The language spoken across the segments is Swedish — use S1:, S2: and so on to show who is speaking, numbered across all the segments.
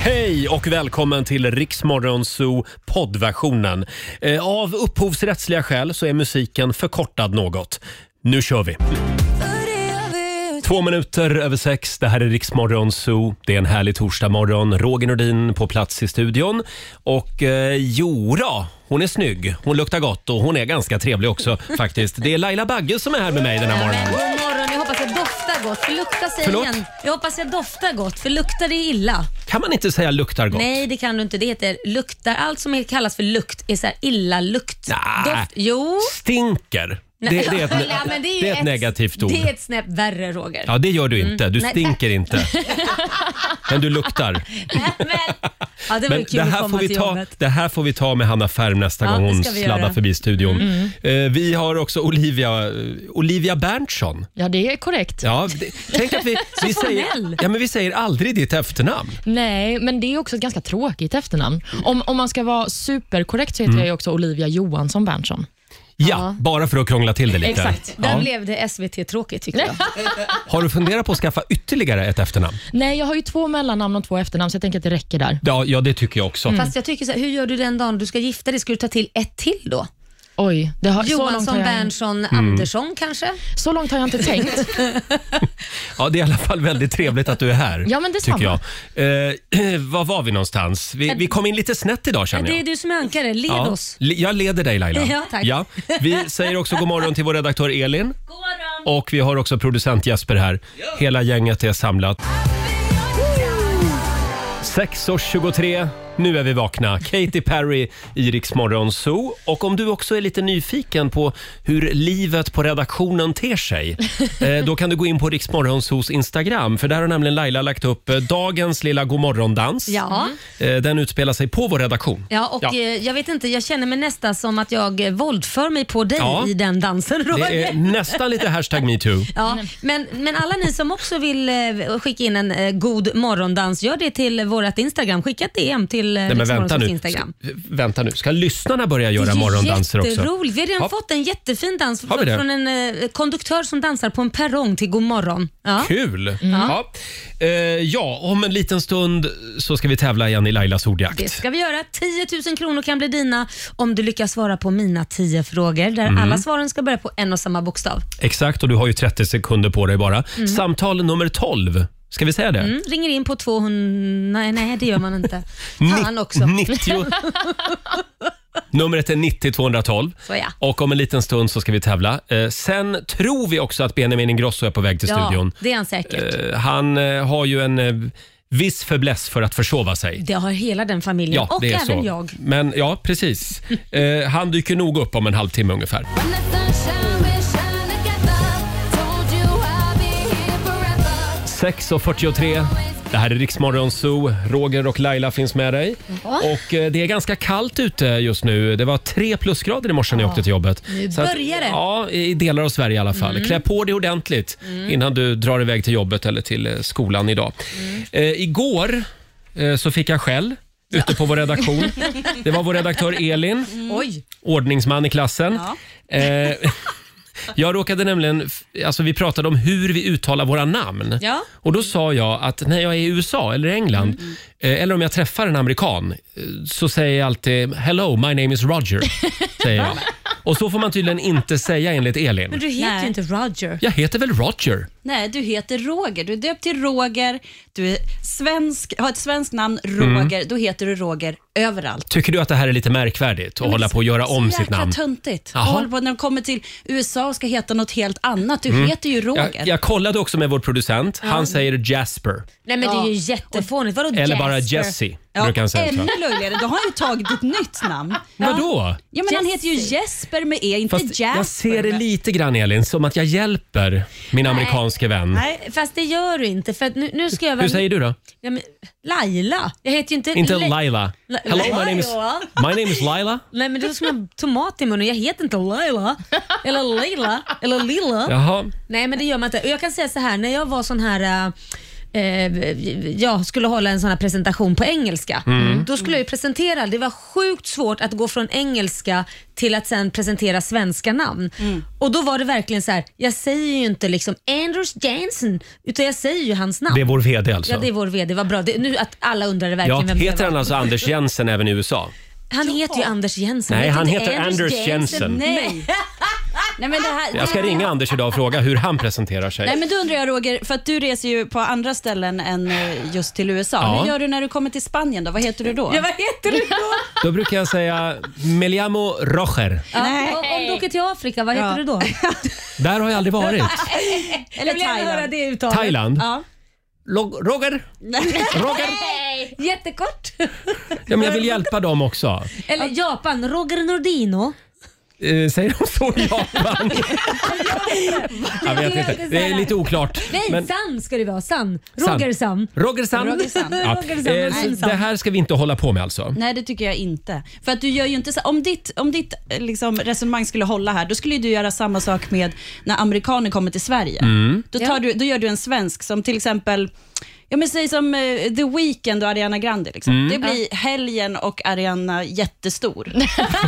S1: Hej och välkommen till Riksmorgon Zoo poddversionen. Eh, Av upphovsrättsliga skäl så är musiken förkortad något. Nu kör vi! Två minuter över sex, det här är Riksmorgon Zoo. Det är en härlig torsdagmorgon. Roger Nordin på plats i studion. Och eh, Jora, hon är snygg, hon luktar gott och hon är ganska trevlig också faktiskt. Det är Laila Bagge som är här med mig den här morgonen.
S2: God morgon, jag hoppas jag doftar gott. För lukta säger
S1: Förlåt?
S2: igen. Jag hoppas jag doftar gott, för luktar det är illa.
S1: Kan man inte säga luktar gott?
S2: Nej, det kan du inte. Det heter luktar. Allt som kallas för lukt är så här illa lukt.
S1: Nej.
S2: Doft. Jo.
S1: Stinker. Det, det, är ett,
S2: Ja, men
S1: det är ett negativt ord.
S2: Det är ett snäpp värre Roger.
S1: Ja, det gör du inte. Du
S2: Mm. Nej,
S1: stinker inte. Men du luktar.
S2: Nej, men. Ja, det var ju
S1: Men
S2: kul
S1: det,
S2: att
S1: här
S2: komma
S1: får vi
S2: till
S1: ta,
S2: jobbet.
S1: det här får vi ta med Hanna Färm nästa
S2: Ja,
S1: gång
S2: det
S1: hon
S2: ska vi
S1: sladdar
S2: göra. Mm.
S1: förbi studion. Eh, vi har också Olivia, eh, Olivia Berntsson.
S3: Ja, det är korrekt.
S1: Ja, det, tänk att vi, vi, säger,
S2: formell.
S1: ja, men vi säger aldrig ditt efternamn.
S3: Nej, men det är också ett ganska tråkigt efternamn.
S1: Mm.
S3: Om, om man ska vara superkorrekt så heter jag ju också Olivia Johansson Berntsson.
S1: Ja, bara för att krångla till det lite.
S3: Exakt.
S2: Där
S1: Ja.
S2: blev det SVT-tråkigt tycker
S3: Mm.
S2: jag.
S1: Har du funderat på att skaffa ytterligare ett efternamn?
S3: Nej, jag har ju två mellannamn och två efternamn, så jag tänker att det räcker där.
S1: Ja, ja det tycker jag också.
S2: Fast jag tycker så här, hur gör du den dagen du ska gifta dig? Ska du ta till ett till då?
S3: Oj, det har, så, långt har
S2: Johansson,
S3: jag,
S2: Berntsson,
S1: Mm.
S2: Andersson kanske?
S3: så långt har jag inte tänkt.
S1: Ja, det är i alla fall väldigt trevligt att du är här.
S3: Ja, men detsamma.
S1: tycker jag. Eh, var var vi någonstans? Vi, vi kom in lite snett idag känner jag.
S2: Det är du som är ankare, led
S1: Ja,
S2: oss.
S1: le- jag leder dig Laila.
S2: Ja, tack.
S1: Vi säger också god morgon till vår redaktör Elin. Och vi har också producent Jesper här. Hela gänget är samlat. 6.23, nu är vi vakna. Katy Perry i Rix Morgon Zoo. Och om du också är lite nyfiken på hur livet på redaktionen ter sig, eh, då kan du gå in på Rix Morgon Zoos Instagram, för där har nämligen Laila lagt upp eh, dagens lilla godmorgondans.
S2: Ja.
S1: Eh, Den utspelar sig på vår redaktion.
S2: Ja, och eh, jag vet inte, jag känner mig nästan som att jag eh, våldför mig på dig
S1: Ja.
S2: i den dansen Roger.
S1: Det är nästan lite hashtag metoo.
S2: Ja, men, men alla ni som också vill eh, skicka in en eh, god morgondans, gör det till vårt Instagram. Skicka ett DM till eh,
S1: Nej, men
S2: Rix
S1: vänta
S2: Morgonzoos
S1: nu.
S2: Instagram.
S1: Ska, vänta nu. Ska lyssnarna börja göra morgondanser
S2: det är
S1: också?
S2: jätteroligt. Vi har redan
S1: Ja.
S2: fått en jättefin dans
S1: Har vi det?
S2: från en eh, konduktör som dansar på en perrong till god morgon. Ja.
S1: Kul! Ja. Eh, ja, om en liten stund så ska vi tävla igen i Lailas
S2: Det
S1: ordjakt.
S2: ska vi göra. 10 000 kronor kan bli dina om du lyckas svara på mina 10 frågor där
S1: Mm.
S2: alla svaren ska börja på en och samma bokstav.
S1: Exakt, och du har ju 30 sekunder på dig bara. Samtal nummer 12. Ska vi säga det?
S2: Mm, ringer in på 200... Nej, nej det gör man inte. Fan
S1: Ni-
S2: också.
S1: 90... Numret är 90 212.
S2: Så ja.
S1: Och om en liten stund så ska vi tävla. Eh, sen tror vi också att Benjamin Ingrosso är på väg till
S2: Ja,
S1: studion.
S2: det är han säkert.
S1: Eh, Han eh, har ju en eh, viss fäbless för att försova sig.
S2: Det har hela den familjen
S1: Ja,
S2: och
S1: det är
S2: även
S1: så.
S2: jag.
S1: Men, ja, precis. eh, han dyker nog upp om en halvtimme ungefär.
S4: Together.
S1: 6.43. Det här är Riksmorgon Zoo. Roger och Laila finns med dig. Och eh, Det är ganska kallt ute just nu. Det var tre plusgrader i morse när jag åkte till jobbet. Nu
S2: börjar det. Mm.
S1: Ja, i delar av Sverige i alla fall. Klä på dig ordentligt innan du drar iväg till jobbet eller till eh, skolan idag.
S2: Mm.
S1: Eh, igår eh, så fick jag skäll ute på vår redaktion. Det var vår redaktör Elin,
S2: Oj.
S1: ordningsman i klassen. Eh, jag råkade nämligen, alltså vi pratade om hur vi uttalar våra namn.
S2: Ja. Mm.
S1: Och Då sa jag att när jag är i USA eller England, eh, eller om jag träffar en amerikan, eh, så säger jag alltid “Hello, my name is Roger”. säger jag. Och Så får man tydligen inte säga enligt
S2: Men
S1: Elin.
S2: du heter
S5: Nej.
S2: ju inte Roger.
S1: Jag heter väl Roger?
S5: Nej, du heter Roger. Du är döpt till Roger. Du är svensk, har ett svenskt namn, Roger.
S1: Mm.
S5: Då heter du Roger överallt.
S1: Tycker du att det här är lite märkvärdigt att hålla på och göra om
S5: Så
S1: sitt
S5: jäkla
S1: namn?
S5: töntigt.
S1: Jaha.
S5: Och håller på när de kommer till USA och ska heta något helt annat.
S1: Mm.
S5: Du heter ju Roger.
S1: Jag, jag kollade också med vår producent. Han säger Jasper.
S2: Nej men det är ju jättefånigt. Vadå
S1: Eller bara
S2: Jasper?
S1: Jesse,
S5: Ja,
S1: brukar han säga. tror jag.
S5: ännu löjligare. Då har han ju tagit ett nytt namn.
S1: Vadå?
S5: Ja, men han heter ju Jesper med E, inte
S1: Fast
S5: Jasper.
S1: jag ser det lite grann Elin, som att jag hjälper min amerikanske vän.
S2: Nej, fast det gör du inte. För att nu, nu ska jag vara...
S1: Hur säger du då?
S2: ja, men, Laila. Jag heter ju inte...
S1: Inte
S2: Le-
S1: Laila.
S2: La-
S1: Hello, my name is,
S2: Laila.
S1: my name is Laila.
S2: Nej men då ska man ha tomat i munnen. Jag heter inte Laila. Eller Leila. Eller Lilla.
S1: Jaha.
S2: Nej men det gör man inte. Och jag kan säga så här, när jag var sån här eh, jag skulle hålla en sån här presentation på engelska.
S1: Mm.
S2: Då skulle jag ju presentera, det var sjukt svårt att gå från engelska till att sen presentera svenska namn.
S5: Mm.
S2: Och då var det verkligen så här, jag säger ju inte liksom Anders Jensen, utan jag säger ju hans namn.
S1: Det är vår VD alltså.
S2: Ja, det är vår VD. Vad bra. Det, nu att alla undrade verkligen
S1: Ja,
S2: vem det
S1: heter
S2: var.
S1: han alltså Anders Jensen även i USA?
S2: Han heter ju Anders Jensen.
S1: Nej, han
S2: inte
S1: heter Anders Jensen.
S5: Nej. Nej, men det här,
S1: Jag ska ringa Anders idag och fråga hur han presenterar sig.
S5: Nej, men då undrar jag Roger, för att du reser ju på andra ställen än eh, just till USA.
S1: Ja.
S5: Hur gör du när du kommer till Spanien då? Vad heter du då?
S2: Ja, vad heter du då?
S1: Då brukar jag säga “Me llamo Roger”.
S5: Nej.
S2: Och Om du åker till Afrika, vad heter
S5: Ja.
S2: du då?
S1: Där har jag aldrig varit.
S5: Eller Thailand.
S2: det uttalet.
S1: Thailand.
S5: Ja.
S1: Log- Roger? Roger?
S2: Jättekort.
S1: Ja, men jag vill hjälpa dem också.
S2: Eller Japan, Roger Nordino.
S1: Eh, säger de så i Japan? jag vet inte. Det är lite oklart.
S2: Nej,
S1: Men-
S2: San ska det vara. San.
S1: San.
S2: Roger San.
S1: Roger San.
S5: Roger San.
S1: Ja.
S2: Roger San,
S1: Eh,
S2: Roger
S1: så
S2: San.
S1: det här ska vi inte hålla på med alltså.
S5: Nej, det tycker jag inte. För att du gör ju inte så, om ditt, om ditt eh, liksom, resonemang skulle hålla här, då skulle ju du göra samma sak med när amerikaner kommer till Sverige.
S1: Mm.
S5: Då, tar
S2: Ja.
S5: du, då gör du en svensk som till exempel, ja, men säg som eh, The Weeknd och Ariana Grande. Liksom.
S1: Mm.
S5: Det blir helgen och Ariana jättestor.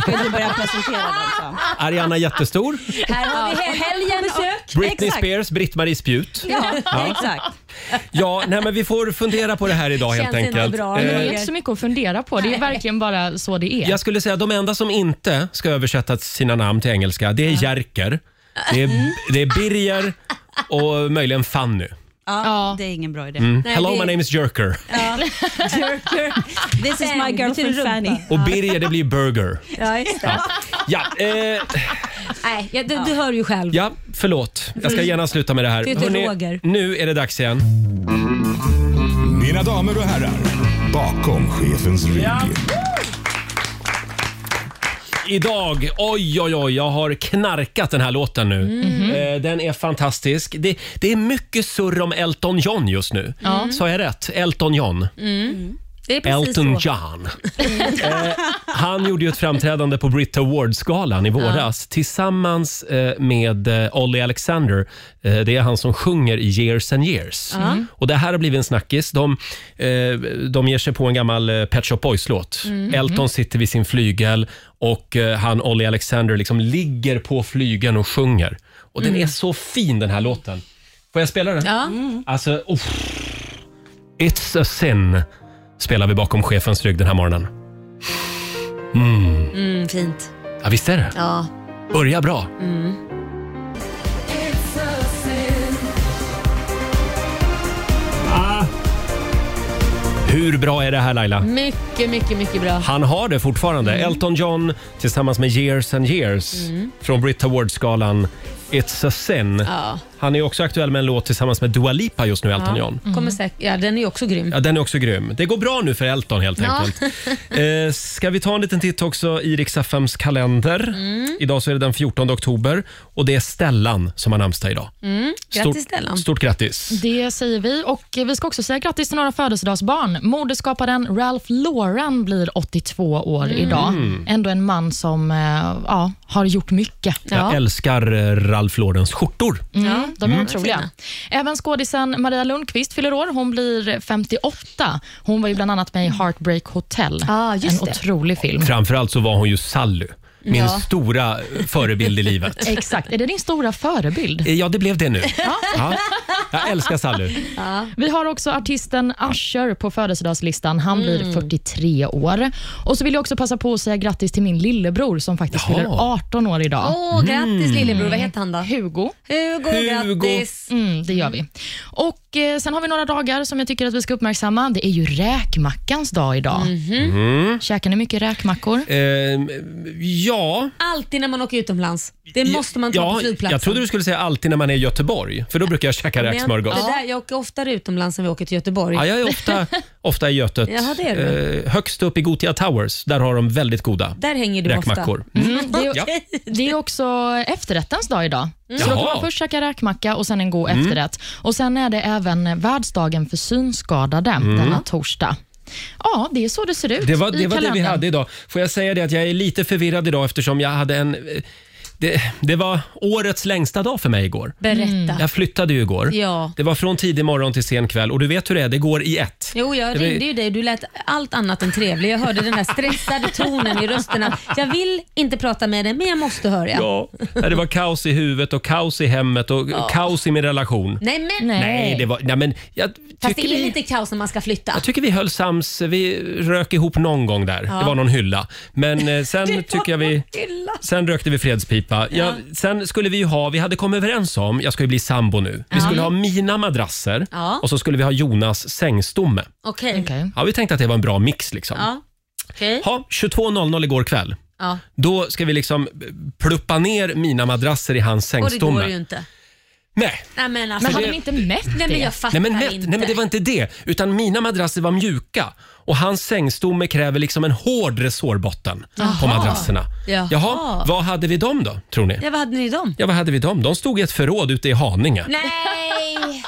S5: Vill du börja presentera den som.
S1: Ariana Jättestor,
S2: Här har vi helgen och besök.
S1: Britney
S5: Exakt.
S1: Spears, Britt-Marie Spjut.
S5: Ja, exakt.
S1: Ja, nej, men vi får fundera på det här idag helt
S2: Känns inte
S1: enkelt.
S2: bra,
S1: Eh,
S3: Men det är inte så mycket att fundera på. Det är verkligen bara så det är.
S1: Jag skulle säga att de enda som inte ska översätta sina namn till engelska, det är Jerker, det är, det är Birger och möjligen Fanny.
S5: Ja,
S3: Ja.
S5: Det är ingen bra idé.
S2: Nej,
S1: Hello,
S2: det-
S1: my name is Jerker.
S2: Jerker.
S5: This is my
S2: Fan, vilken
S5: girlfriend
S2: rumpa.
S5: Fanny.
S1: Och Birger, det blir Burger.
S2: Ja, just det.
S1: Ja, eh,
S2: Nej, ja, du, du hör ju själv.
S1: ja, förlåt. Jag ska gärna sluta med det här.
S2: Det heter
S1: Hörrni,
S2: Roger.
S1: nu är det dags igen.
S4: Mina damer och herrar, bakom chefens rygg.
S1: Idag, oj oj oj, jag har knarkat den här låten nu. Eh, den är fantastisk. Det, det är mycket surr om Elton John just nu. Sa jag rätt? Elton John.
S2: Det är precis
S1: Elton
S2: så.
S1: John. eh, han gjorde ju ett framträdande på Brit Awards-galan i våras tillsammans eh, med eh, Olly Alexander. Eh, det är han som sjunger i Years and Years.
S2: Mm.
S1: Och Det här har blivit en snackis. De, eh, de ger sig på en gammal eh, Pet Shop Boys-låt.
S2: Mm.
S1: Elton sitter vid sin flygel och eh, han Olly Alexander liksom ligger på flygeln och sjunger. Och
S2: Mm.
S1: Den är så fin den här låten. Får jag spela den?
S2: Ja.
S1: Alltså, uff. It's a sin spelar vi bakom chefens rygg den här morgonen.
S2: Mm, fint.
S1: Ja, visst är det?
S2: Ja.
S1: Börja bra. Ah. Hur bra är det här Laila?
S3: Mycket, mycket, mycket bra.
S1: Han har det fortfarande.
S2: Mm.
S1: Elton John tillsammans med Years and Years från Brit Awards-galan It's a sin.
S2: Ja.
S1: Han är också aktuell med en låt tillsammans med Dua Lipa just nu, Elton John.
S2: Kommer säkert, ja, den är ju också grym.
S1: Ja, den är också grym. Det går bra nu för Elton helt
S2: Ja.
S1: enkelt. Eh, ska vi ta en liten titt också i Riksaffems kalender?
S2: Mm.
S1: Idag så är det den 14 oktober och det är Stellan som har namnsdag idag.
S2: Grattis Stellan.
S1: Stort grattis.
S3: Det säger vi. Och Vi ska också säga grattis till några födelsedagsbarn. Modeskaparen Ralph Lauren blir 82 år idag.
S1: Mm.
S3: Ändå en man som eh, ja, har gjort mycket.
S1: Jag älskar eh, Ralph Laurens skjortor.
S3: Ja,
S2: Mm.
S3: de är otroliga.
S2: fina.
S3: Även skådisen Maria Lundqvist fyller år. Hon blir 58. Hon var ju bland annat med i Heartbreak Hotel.
S2: Ah, just
S3: en
S2: det.
S3: otrolig film.
S1: Framförallt så var hon ju Sally, min
S2: Mm. Ja.
S1: stora eh, förebild i livet.
S3: Exakt. Är det din stora förebild?
S1: Eh, Ja, det blev det nu. Ja. Jag älskar Sally.
S3: Vi har också artisten Usher på födelsedagslistan. Han blir
S2: Mm.
S3: 43 år. Och så vill jag också passa på att säga grattis till min lillebror som faktiskt
S1: Jaha.
S3: fyller 18 år idag.
S2: Åh, grattis lillebror. Vad heter han då?
S3: Hugo.
S2: Hugo,
S1: Mm. Hugo.
S2: grattis.
S3: Mm, det gör vi. Och eh, Sen har vi några dagar som jag tycker att vi ska uppmärksamma. Det är ju räkmackans dag idag.
S2: Mhm.
S3: Käkar ni mycket räkmackor?
S1: Eh, ja,
S2: Alltid när man åker utomlands. Det måste man ta på
S1: ja
S2: flygplatsen.
S1: jag trodde du skulle säga alltid när man är i Göteborg, för då brukar jag käka
S2: Men jag, det
S1: räksmörgås.
S2: där, jag åker oftare utomlands än vi åker till Göteborg.
S1: Ja, jag är ofta, ofta i Götet.
S2: Jaha, det är du.
S1: Eh, högst upp i Gotia Towers, där har de väldigt goda
S2: Där hänger du
S1: räkmackor.
S3: Mm, det, är,
S1: Ja.
S3: det är också efterrättens dag idag. Så då kan
S1: Jaha. Mm.
S3: man först käka räkmacka och sen en god efterrätt. Och Sen är det även världsdagen för synskadade denna torsdag. Ja, det är så det ser ut
S1: Mm. Det var det,
S3: i
S1: var det vi
S3: kalendern.
S1: hade idag. Får jag säga det att jag är lite förvirrad idag eftersom jag hade en... eh, Det, det var årets längsta dag för mig igår.
S2: Berätta.
S1: Jag flyttade ju igår.
S2: Ja.
S1: Det var från tidig morgon till sen kväll och du vet hur det är, det går i ett.
S2: Jo, jag
S1: Det var-
S2: ringde ju dig. Du lät allt annat än trevlig. Jag hörde den där stressade tonen i rösten. att Jag vill inte prata med dig, men jag måste höra.
S1: Ja. Nej, Det var kaos i huvudet och kaos i hemmet och kaos i min relation.
S2: Nej, men.
S1: Nej, det var... Nej, men jag
S2: Fast
S1: tycker
S2: det är
S1: vi-
S2: lite kaos när man ska flytta.
S1: Jag tycker vi höll sams, vi rök ihop någon gång där. Det var någon hylla. Men eh, sen tycker jag vi...
S2: Illa.
S1: Sen rökte vi fredspipa. Ja. sen skulle vi ju ha, vi hade kommit överens om, jag ska ju bli sambo nu. Vi skulle ha mina madrasser
S2: Ja.
S1: och så skulle vi ha Jonas sängstomme.
S2: Okej.
S3: Okej.
S1: Ja, vi tänkte att det var en bra mix liksom.
S2: Ja. Okej.
S1: Ha, 22.00 igår kväll.
S2: Ja.
S1: Då ska vi liksom pluppa ner mina madrasser i hans
S2: Och det går ju
S1: sängstomme.
S2: inte.
S1: Nej.
S2: Nej, men alltså.
S3: Men hade
S2: det-
S3: vi inte mätt
S2: Nej, men
S3: det?
S2: jag fattar
S1: Nej men, mätt,
S2: inte.
S1: nej men det var inte det. Utan mina madrasser var mjuka och hans sängstomme kräver liksom en hård resårbotten på madrasserna.
S2: Jaha.
S1: Jaha, vad hade vi dem då tror ni?
S2: Ja, vad hade ni dem?
S1: Ja, vad hade vi dem? De stod i ett förråd ute i Haninge.
S2: Nej!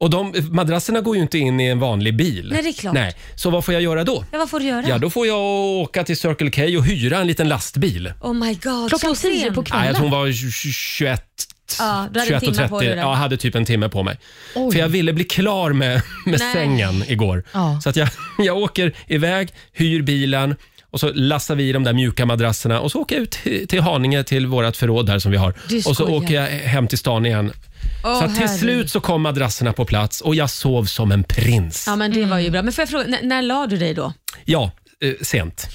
S1: Och de, madrasserna går ju inte in i en vanlig bil.
S2: Nej, det är klart.
S1: Nej. Så vad får jag göra då?
S2: Ja, vad får du göra?
S1: Ja, då får jag åka till Circle K och hyra en liten lastbil.
S2: Oh my god,
S3: Klockan
S2: så
S3: tio
S2: sen.
S3: på
S1: Nej,
S3: kvällen?
S1: jag tror hon var 21.
S2: Ja, du hade
S1: 21
S2: en
S1: och
S2: timme på
S1: 30.
S2: dig då.
S1: Ja, jag hade typ en timme på mig.
S3: Oj.
S1: För jag ville bli klar med, med
S2: Nej.
S1: sängen igår.
S3: Ja.
S1: Så att jag, jag åker iväg, hyr bilen och så lassar vi i de där mjuka madrasserna och så åker jag ut till- till Haninge till vårt förråd där som vi har.
S2: Du
S1: Och så
S2: skojar.
S1: åker jag hem till stan igen. så att till
S2: herregud.
S1: slut så kom madrasserna på plats och jag sov som en prins.
S2: Ja, men det var ju bra. Men får jag fråga, när, när la du dig då?
S1: Ja, eh, sent.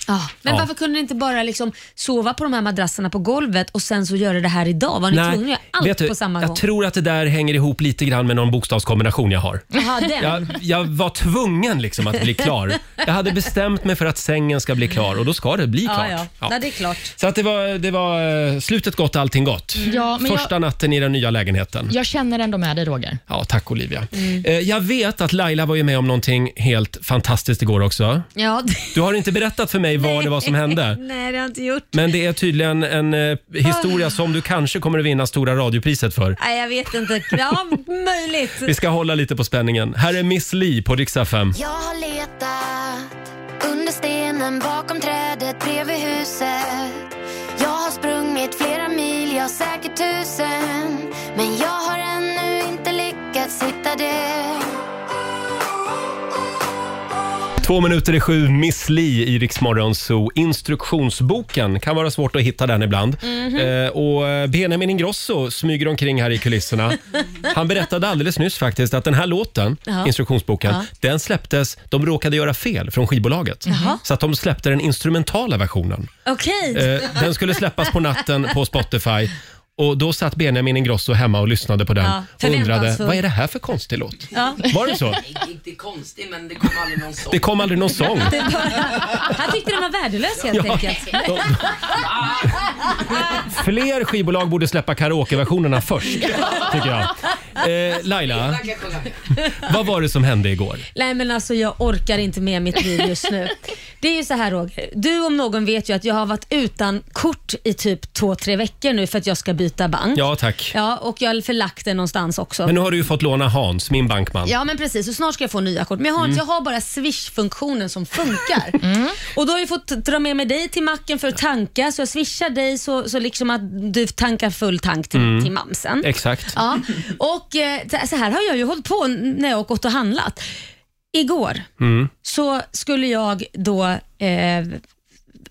S2: Men
S1: Ja.
S2: varför kunde ni inte bara liksom sova på de här madrasserna på golvet och sen så göra det här idag? Var ni tvungna att göra allt
S1: vet du,
S2: på samma
S1: jag
S2: gång?
S1: tror att det där hänger ihop lite grann med någon bokstavskombination jag har.
S2: Jaha, den.
S1: Jag, jag var tvungen liksom att bli klar. Jag hade bestämt mig för att sängen ska bli klar och då ska det bli klart.
S2: ja, ja.
S1: Ja.
S2: Nej, det är klart.
S1: Så att det var, det var eh, slutet gott, allting gott.
S2: Mm.
S3: Ja, men jag-
S1: Första natten i den nya lägenheten.
S3: Jag känner ändå med dig, Roger.
S1: Ja, tack Olivia.
S2: Mm.
S1: Eh, Jag vet att Laila var ju med om någonting helt fantastiskt igår också.
S2: Ja, det-
S1: Du har inte berättat för mig vad det var som hände.
S2: Nej, det har jag inte gjort.
S1: Men det är tydligen en eh, historia som du kanske kommer att vinna Stora radiopriset för.
S2: Nej, jag vet inte. Ja, möjligt.
S1: Vi ska hålla lite på spänningen. Här är Miss Li på Rix FM.
S6: Jag har letat under stenen, bakom trädet, bredvid huset. Jag har sprungit flera mil, jag säkert tusen. Men jag har ännu inte lyckats hitta det.
S1: Två minuter i sju, Miss Li i Rix Morgon Zoo. Instruktionsboken kan vara svårt att hitta den ibland.
S2: Mhm.
S1: eh, och eh, Benjamin Ingrosso smyger omkring här i kulisserna. Han berättade alldeles nyss faktiskt att den här låten,
S2: Ja.
S1: instruktionsboken,
S2: Ja.
S1: den släpptes, de råkade göra fel från skivbolaget. Mm. Så att de släppte den instrumentala versionen.
S2: Okej.
S1: Eh, den skulle släppas på natten på Spotify. Och Då satt Benjamin Ingrosso hemma och lyssnade på den
S2: Ja,
S1: och undrade
S2: förväntansfull.
S1: vad är det här för konstig låt.
S2: Ja.
S1: Var det så?
S7: Inte konstig, men det kom aldrig någon sång.
S1: Det kom aldrig någon sång.
S2: Det var, han tyckte den var värdelös helt
S1: Ja.
S2: enkelt.
S1: De, fler skivbolag borde släppa karaokeversionerna först, tycker jag. Eh, Laila, vad var det som hände igår?
S2: Nej men alltså jag orkar inte med mitt liv just nu. Det är ju så här Roger, du om någon vet ju att jag har varit utan kort i typ två, tre veckor nu för att jag ska byta bank.
S1: Ja, tack.
S2: Ja, och jag har förlagt det någonstans också.
S1: Men nu har du ju fått låna Hans, min bankman.
S2: Ja men precis, och snart ska jag få nya kort. Men jag har, inte, jag har bara swish-funktionen som funkar. Och då har jag fått dra med mig dig till macken för att tanka, så jag swishar dig så, så liksom att du tankar full tank till, till mamsen.
S1: Exakt.
S2: Ja, och eh, så- så här har jag ju hållit på n- när jag har gått och handlat. Igår så skulle jag då eh,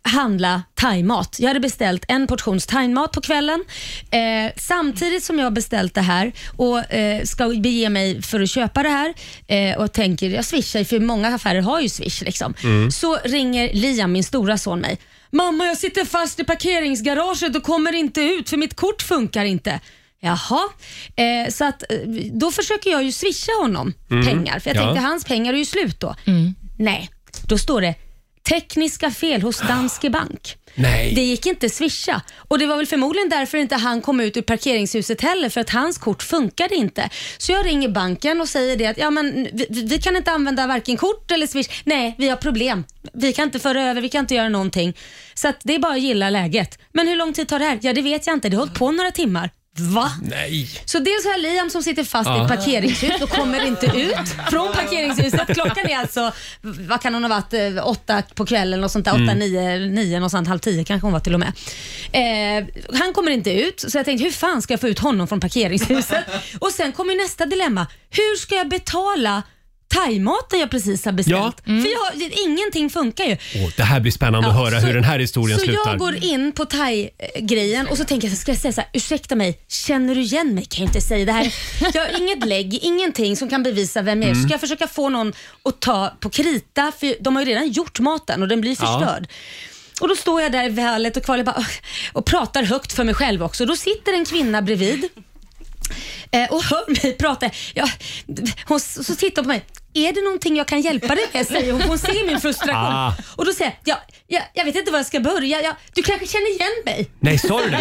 S2: handla thaimat. Jag hade beställt en portions thaimat på kvällen. Eh, samtidigt som jag har beställt det här och eh, ska bege mig för att köpa det här eh, och tänker jag swishar ju, för många affärer har ju swish. Liksom. Så ringer Liam, min stora son, mig. Mamma, jag sitter fast i parkeringsgaraget och kommer inte ut för mitt kort funkar inte. Jaha, eh, så att, eh, då försöker jag ju swisha honom pengar för jag
S1: Ja.
S2: tänkte hans pengar är ju slut då. Nej, då står det tekniska fel hos Danske Bank.
S1: Nej.
S2: Det gick inte swisha och det var väl förmodligen därför inte han kom ut ur parkeringshuset heller för att hans kort funkade inte. Så jag ringer banken och säger det att ja, men vi, vi- vi kan inte använda varken kort eller swish. Nej, vi har problem. Vi kan inte föra över, vi kan inte göra någonting. Så att det är bara att gilla läget. Men hur lång tid tar det här? Ja, det vet jag inte. Det har hållit på några timmar. Va?
S1: Nej.
S2: Så dels har jag Liam som sitter fast i
S1: Ja.
S2: ett parkeringshus och kommer inte ut från parkeringshuset. Klockan är alltså, vad kan hon ha varit, eh, åtta på kvällen och sånt där, åtta, nio, nio, något sånt, halv tio kanske hon var till och med. Eh, han kommer inte ut, så jag tänkte hur fan ska jag få ut honom från parkeringshuset? och sen kommer nästa dilemma, hur ska jag betala thaimaten jag precis har beställt? För jag, har- ingenting funkar ju.
S1: Åh, det här blir spännande att
S2: Ja,
S1: höra
S2: så-
S1: hur den här historien
S2: så
S1: slutar.
S2: jag går in på thai-grejen och så tänker jag, ska jag säga så här, ursäkta mig, känner du igen mig? Kan jag inte säga det här. Jag har inget lägg, ingenting som kan bevisa vem jag
S1: Mm.
S2: är. Ska jag försöka få någon att ta på krita? För de har ju redan gjort maten och den blir förstörd. Och Då står jag där i valet och kvalet bara, "Åh", och pratar högt för mig själv också. Då sitter en kvinna bredvid eh, och hör mig prata. Ja, hon, så så tittar hon på mig. Är det någonting jag kan hjälpa dig med? säger hon. Hon ser min frustration.
S1: Ah.
S2: Och då säger jag, ja, ja, jag vet inte var jag ska börja. Ja, du kanske känner igen mig?
S1: Nej, sa du det?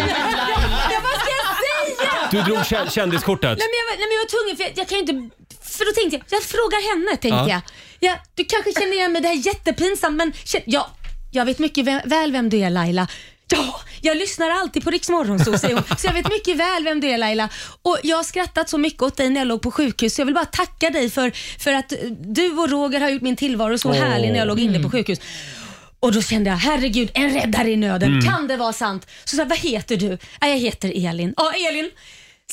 S2: Ja, vad ska jag säga?
S1: Du drog kä- kändiskortet?
S2: Nej men jag, var- nej, men jag var tvungen för jag, jag kan ju inte... För då tänkte jag, jag frågar henne tänkte
S1: Ja.
S2: jag. Ja, du kanske känner igen mig, det här är jättepinsamt men kän- ja, jag vet mycket vä- väl vem du är Laila. Ja, jag lyssnar alltid på Rix Morgonzoo säger hon. Så jag vet mycket väl vem du är Laila. Och jag har skrattat så mycket åt dig när jag låg på sjukhus så jag vill bara tacka dig för, för att eh, du och Roger har gjort min tillvaro så härlig när jag låg inne på sjukhus. Och då kände jag, herregud, en räddare i nöden.
S1: Mm.
S2: Kan det vara sant? Så sa jag, vad heter du? Ja, jag heter Elin. Ja, Elin.